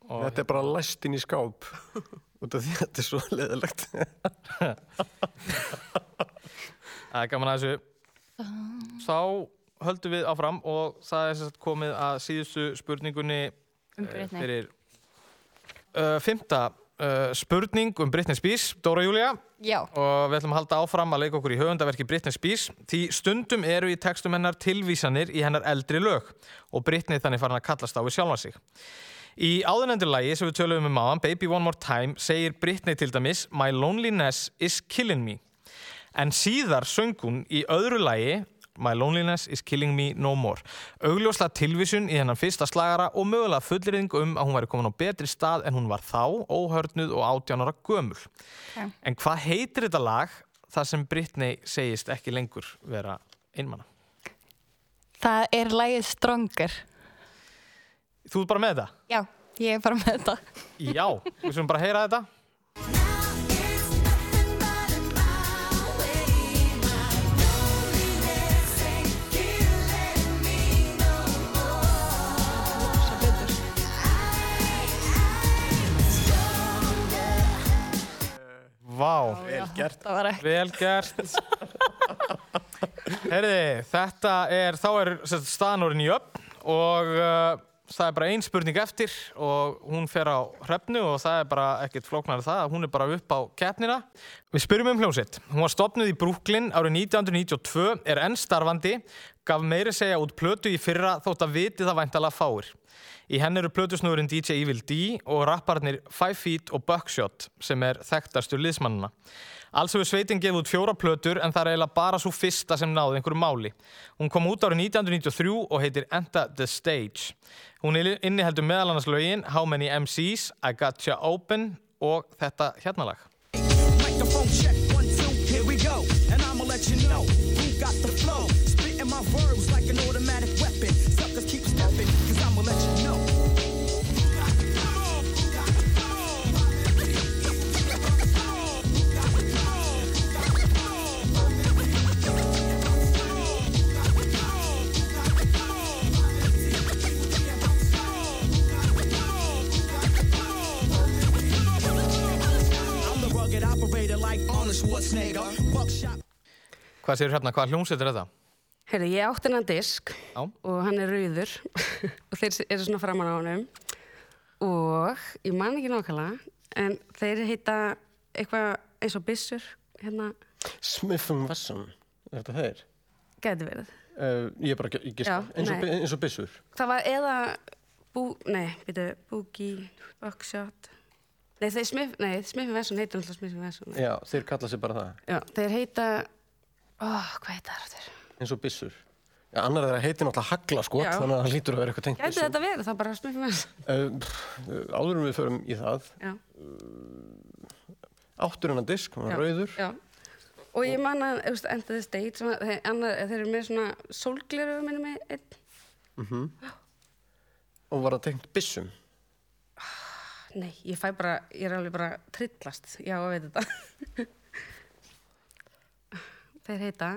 E: þetta er bara læst inn í skáp, út af því að þetta er svo leðilegt.
A: Það er gaman að
C: Ah.
A: þessu. Þá höldum við áfram og það er sem sagt komið að síðustu spurningunni
C: Um
A: eh,
C: Britney.
A: fyrir uh, fymta uh, spurning um Britney Spears, Dóra Júlia.
K: Já.
A: Og við ætlum að halda áfram að leika okkur í höfundaverki Britney Spears því stundum eru í textum hennar tilvísanir í hennar eldri lög og Britney þannig farin að kallast á við sjálfa sig. Í áðunendur lagi sem við töluðum um áðan, Baby One More Time, segir Britney til dæmis My loneliness is killing me. En síðar söng hún í öðru lagi My loneliness is killing me no more. Augljósla tilvísun í hennan fyrsta slagara og mögulega fullriðing um að hún væri komin á betri stað en hún var þá, óhörnuð og átjánara gömul.
C: Ok.
A: En hvað heitir þetta lag þar sem Britney segist ekki lengur vera einmana?
K: Það er lagið Stronger.
A: Þú ert bara með þetta?
K: Já, ég er bara með þetta.
A: Já, við sem bara heyra þetta. Vá,
E: Vel gert.
K: Það var ekki.
A: Vel gert. Herði, þetta er, þá er sem sagt, staðan orðin í upp og uh, það er bara ein spurning eftir og hún fer á hrefnu og það er bara ekkert flóknar það, hún er bara upp á keppnina. Við spyrjum um hljómsveit. Hún var stopnuð í Brooklyn árið 1992, er enn starfandi, gaf meiri segja út plötu í fyrra þótt að viti það væntalega fáir. Í henn eru plötusnúðurinn DJ Evil D og rapparnir Five Feet og Buckshot sem er þekktastur liðsmannina. Alls hefur sveitin gefið út fjóra plötur en það er eiginlega bara svo fyrsta sem náði einhverju máli. Hún kom út árið 1993 og heitir Enta the Stage. Hún inniheldur meðal annars lögin How Many MCs, I Gotcha Open og þetta hérna lag.
J: Microphone check, one, two, here we go. And I'ma let you know who got the flow. Spitting my words like an automatic weapon. Suckers keep stepping, cause I'ma let you know. I'm the rugged operator like Arnold Schwarzenegger. Buckshot.
A: Hvað séu hérna, hvað hljómsveit er þetta?
D: Heyrðu, ég átti hennan disk
A: Já.
D: og hann er rauður [LAUGHS] og þeir eru svona framan á honum og ég man ekki nákvæmlega en þeir heita eitthvað eins og byssur hérna,
E: Smith and Wesson, er þetta þeir?
D: gæti verið.
E: Uh, ég er bara ekki, ekki
D: Já,
E: eins, og,
D: nei.
E: eins og byssur.
D: Það var eða bú, nei, býtu, búgi, buckshot Nei, þeir smif, nei, smifin Vesson heitir alltaf smifin Vesson
E: Já, þeir kalla sér bara það,
D: Já, þeir heita, oh, hvað heita það aftur?
E: eins og byssur. Já, annar þeirra heitir náttúrulega hagla, sko,
D: Já.
E: þannig að það lítur að vera eitthvað tengt
D: Gæti þetta verið, þá bara smifin Vesson
E: Uh, pff, uh, áður en við förum í það
D: Já.
E: áttur hennar disk, hann
D: Já,
E: var rauður
D: já. Og ég man að, þú veist, enda þið steit, svona, þeir, annar, þeir eru með svona sólgleru, minnum mig, einn,
E: mm og var það tengt byssum
D: nei, ég fæ bara, ég er alveg bara trillast, já, að veit þetta. [LAUGHS] þeir heita,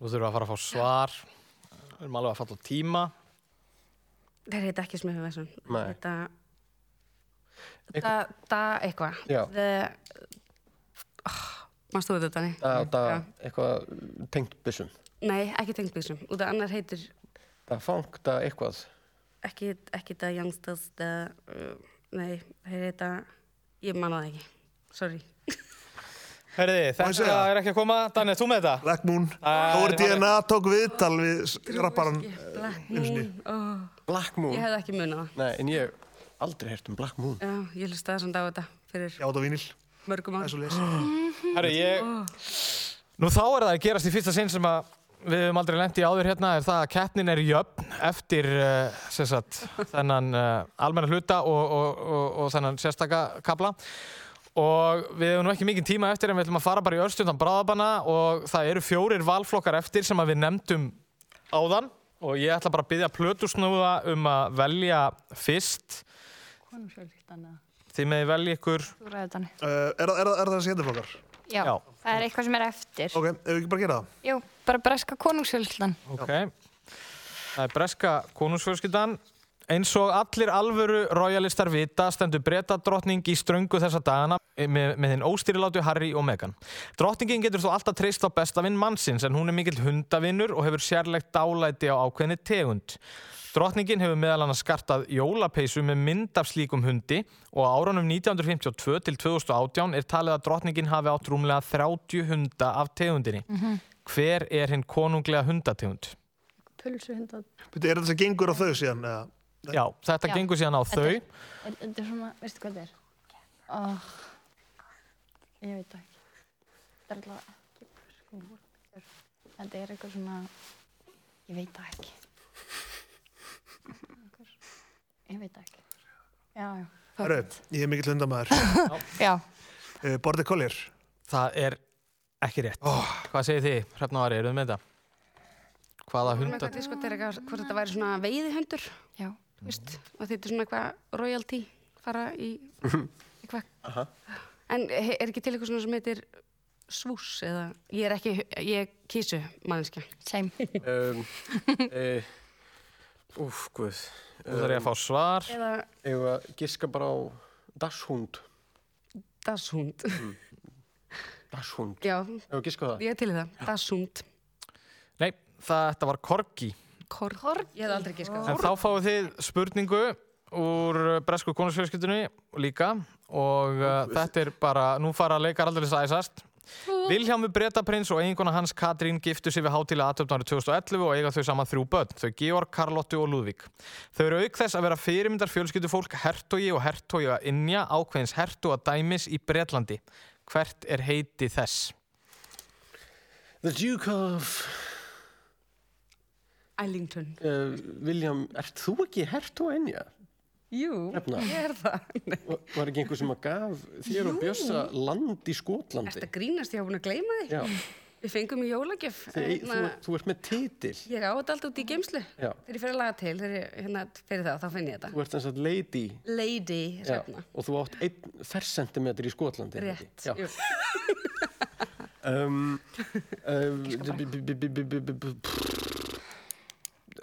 A: Þú þurfa að fara að fá svar. Við erum alveg að falla á tíma.
D: þeir heita ekki Smifin Vesson, þeir
A: Nei.
D: heita, da, da, eitthva.
E: Já.
D: The, oh, mannst þú þetta, nei?
E: það, það eitthvað tengt byssum
D: Nei, ekki tengt byggsum, út af annar heitir
E: það fangt að eitthvað
D: ekki, ekki það Youngsters, það, uh, nei, þeir heita, ég man það ekki, sorry.
A: Herði, þetta
B: segja?
A: er ekki að koma. Danni, þú með þetta?
B: Black Moon.
A: Það
B: Þá er
A: er-
B: DNA tók viðtal við rapparan.
D: Black
B: Einu sinni.
D: Moon, oh.
E: Black Moon?
D: Ég hefði ekki munið það.
E: Nei, en ég aldrei heyrt um Black Moon
D: Já, ég hlustaði samt á þetta fyrir
B: Já, þetta vinil.
D: mörgum árum.
B: Það er
A: Herri, ég... Nú þá er það að gerast í fyrsta sinn sem að við höfum aldrei lent í áður hérna er það að keppnin er jöfn eftir uh, sem eh, sagt, þennan uh, almenna hluta og, og, og, og þennan sérstaka kabla Og við hefum nú ekki mikinn tíma eftir en við ætlum að fara bara í örstundan bráðabanna og það eru fjórir valflokkar eftir sem að við nefndum áðan og ég ætla bara að byggja plötusnúða um að velja fyrst.
C: Konum sjálf hitt annað.
A: Þið meði velja ykkur.
C: Þú ræður þannig.
B: Uh, er, það- er, það- er það skemmtiflokkar?
C: Já, það er eitthvað sem er eftir.
B: Ok, ef við ekki bara gera það?
C: Jú, bara breska konungsfjöldan.
A: Ok. Það er breska konungsfjölskyldan. Eins og allir alvöru royalistar vita stendur bretadrottning í ströngu þessa dagana með, með hinn óstýrilátu Harry og Meghan. Drottningin getur þó alltaf treyst á bestavinn mannsins en hún er mikill hundavinnur og hefur sérlegt dálæti á ákveðni tegund. Drottningin hefur meðal annars skartað jólapeysu með mynd af slíkum hundi og á árunum 1952 til 2018 er talið að drottningin hafi átt rúmlega 30 hunda af tegundinni.
C: Mhm.
A: Hver er hinn konunglega hundategund?
C: Pulsu hundar.
B: Bíddu, Er þetta sem gengur á þau síðan? eða?
A: Já, þetta
C: Já.
A: gengur síðan á
C: Þetta
A: þau.
C: er- Er- Þetta er svona, veistu hvað þetta er? Oh, ég veit það ekki. Þetta er alltaf ekki sko vorkur. Þetta er eitthvað svona, ég veit það ekki. Einhver- Ég veit það ekki. Já, já.
B: Herru, ég er mikill hundamæður.
C: Já.
B: Uh, Borði Collier.
A: Það er ekki rétt. Hvað segir þið, Hrefna og Ari, eruð þið með þetta? Hvaða
D: Hunda.
A: hundar?
D: Við sko þetta hvort þetta væri svona veiðihundur.
C: Já.
D: Þú veist, og þetta er svona eitthvað royalty fara í eitthvað.
E: Aha.
D: En he- er ekki til eitthvað svona sem heitir svús eða ég er ekki, ég er kísu mannskja.
C: Same.
E: um, e, Úf, guð
A: Þú þarf ég að fá svar
D: Eða
E: Ég að giska bara á dashund
D: dashund
E: mm. Dashund
D: Já,
E: Ef að giska á það
D: ég er til í það. Dashund.
A: Nei, það, þetta var Korki.
D: Korg. Korg. Ég hef aldrei giskað. á það.
A: En þá fáið þið spurningu úr uh, bresku konusfjölskyldunni líka og uh, þetta er bara, nú fara leikar aldrei sæsast. Vilhjámi Bretaprins og eiginkona hans Katrín giftu sig við hátilega aðtöfn árið 2011 og eiga þau saman þrjú börn, þau Georg, Karlottu og Lúðvík. Þau eru auk þess að vera fyrirmyndar fjölskyldufólk hertogi og hertogi að innja ákveðins hertoga dæmis í Bretlandi. Hvert er heiti þess?
E: The Duke of
D: Ellington.
E: uh, William, ert þú ekki hert og enja?
D: Jú,
E: Hrefna.
D: ég er það.
E: Var var ekki einhver sem að gaf þér og
D: Jú.
E: Bjössa land í Skotlandi?
D: Þetta grínast, ég hafa búin að gleyma því.
E: Já.
D: Við fengum í jólagjöf.
E: Þið,
D: hérna,
E: þú, þú ert með titil
D: Ég á þetta alltaf út í geimslu.
E: Já.
D: Þegar ég fer að laga til, þegar ég hérna, fyrir það, þá finn ég þetta.
E: Þú ert eins og lady
D: Lady,
E: Já,
D: hrefna.
E: og þú átt einn fersentimetr í Skotlandi er það
D: Rétt,
E: ekki? Já. um, um, b- b- b- b- b- b- b-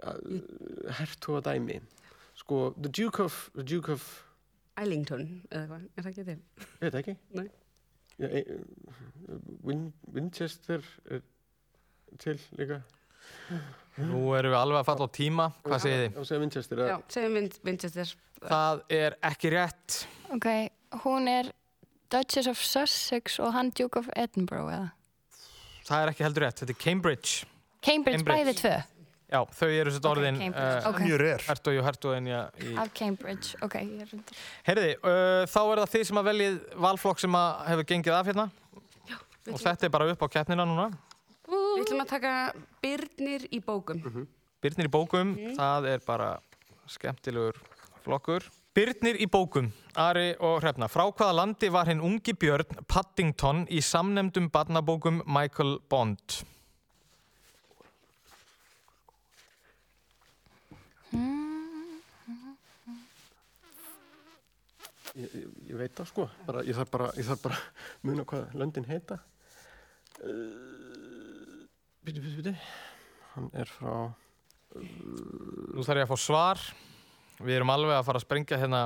E: uh, hertoga dæmi sko, the duke of the duke of,
D: Ellington, eða hvað, er það ekki til?
E: ég veit ekki
D: Nei.
E: ja, e, uh, Win, Winchester er til líka
A: Nú erum við alveg að falla á tíma, hvað segir þið?
E: Ef þú segir Winchester,
D: Já, segjum Win- Winchester.
A: Það er ekki rétt.
C: Ok, hún er Duchess of Sussex og hann Duke of Edinburgh eða?
A: Það er ekki heldur rétt, þetta er Cambridge.
C: Cambridge,
A: Cambridge.
C: bæði tvö.
A: Já, þau eru sett orðin uh,
C: Cambridge. Ok.
B: Mjög reyr.
A: Hertog og hertoginja í...
C: Af Cambridge, ok, ég er undir.
A: Herði, uh, þá er það þið sem að veljið valflokk sem að hefur gengið af hérna og þetta er bara upp á keppnina núna.
D: Við ætlum að taka Byrnir í bókum.
A: Byrnir í bókum,
C: Mhm.
A: það er bara skemmtilegur flokkur. Byrnir í bókum, Ari og Hrefna. Frá hvaða landi var hinn ungi björn Paddington í samnemdum barnabókum Michael Bond?
E: ég, ég, ég veit það sko bara, ég þarf bara, ég þarf bara að muna hvað löndin heita Uh, bíti, bíti, bíti hann er frá
A: Nú þarf ég að fá svar. Við erum alveg að fara að sprengja hérna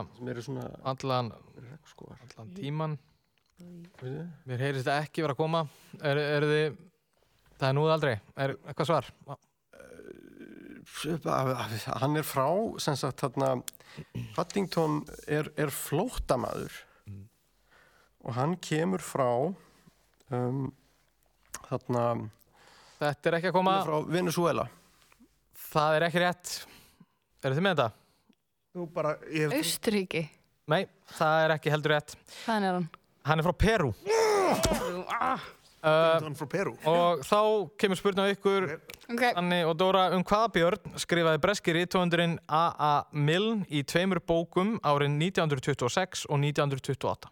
A: allan,
E: sko,
A: allan tíman.
E: bíti,
A: Mér heyrist þetta ekki vera að koma. Er, er þið, það er núð aldrei. Er eitthvað svar?
E: hann er frá sem sagt þarna Paddington er, er flóttamaður og hann kemur frá um, þarna
A: Þetta er ekki að koma.
E: Hann er frá Venezuela
A: Það er ekki rétt. Eru þið með þetta?
B: Þú bara, ég...
K: Austuríki,
A: Nei, það er ekki heldur rétt.
K: hvaðan er hann?
A: Hann er frá Peru. Paddington
B: frá Peru.
A: Og þá kemur spurning á ykkur,
K: okay.
A: Anni og Dóra, um hvaða björn skrifaði breski ríttóendurinn A.A. Milne í tveimur bókum árin 1926 og 1928?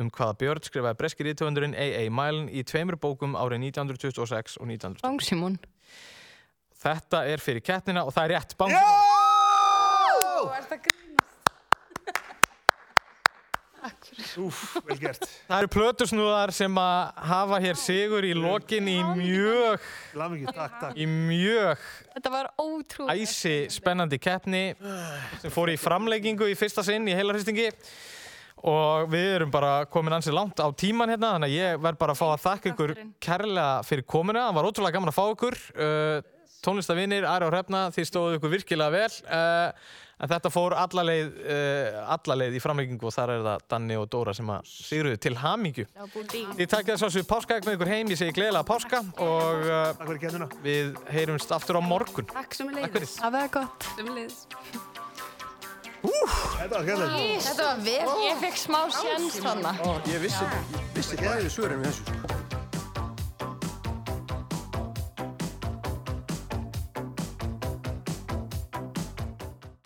A: um hvaða björn skrifaði breski ríttöfundurinn A.A. Milne í tveimur bókum árið 1926 og 1900.
K: Bang Simon.
A: Þetta er fyrir keppnina og það er rétt. Bang
K: Þú ert að grínast.
A: Simon! Úf, vel gert. Það eru plötusnúðar sem að hafa hér sigur í lokin í mjög... Lamingi, takk, takk. Í mjög
K: Þetta var ótrúlega.
A: æsi spennandi keppni sem fór í framleggingu í fyrsta sinn í heilarhristingi og við erum bara komin ansið langt á tíman hérna þannig að ég verð bara að fá að þakka ykkur kærlega fyrir komuna, það var ótrúlega gaman að fá ykkur uh, tónlistavinir, Ari og Hrefna þið stóðu ykkur virkilega vel uh, en þetta fór allaleið uh, allaleið í framleggingu og þar er það Danni og Dóra sem að sigruðu til hamingju Þið takkja þess að þessu páskaegg með ykkur heim, ég segi gleðilega páska og uh, við heyrumst aftur á morgun.
D: Takk sem
A: Takk fyrir.
K: Það var gott.
D: Sem leiðis.
B: Þetta var gæðlega.
K: Þetta var vel. Ég fekk smá sjans þarna.
E: Ég vissi, vissi bæði svörum í þessu.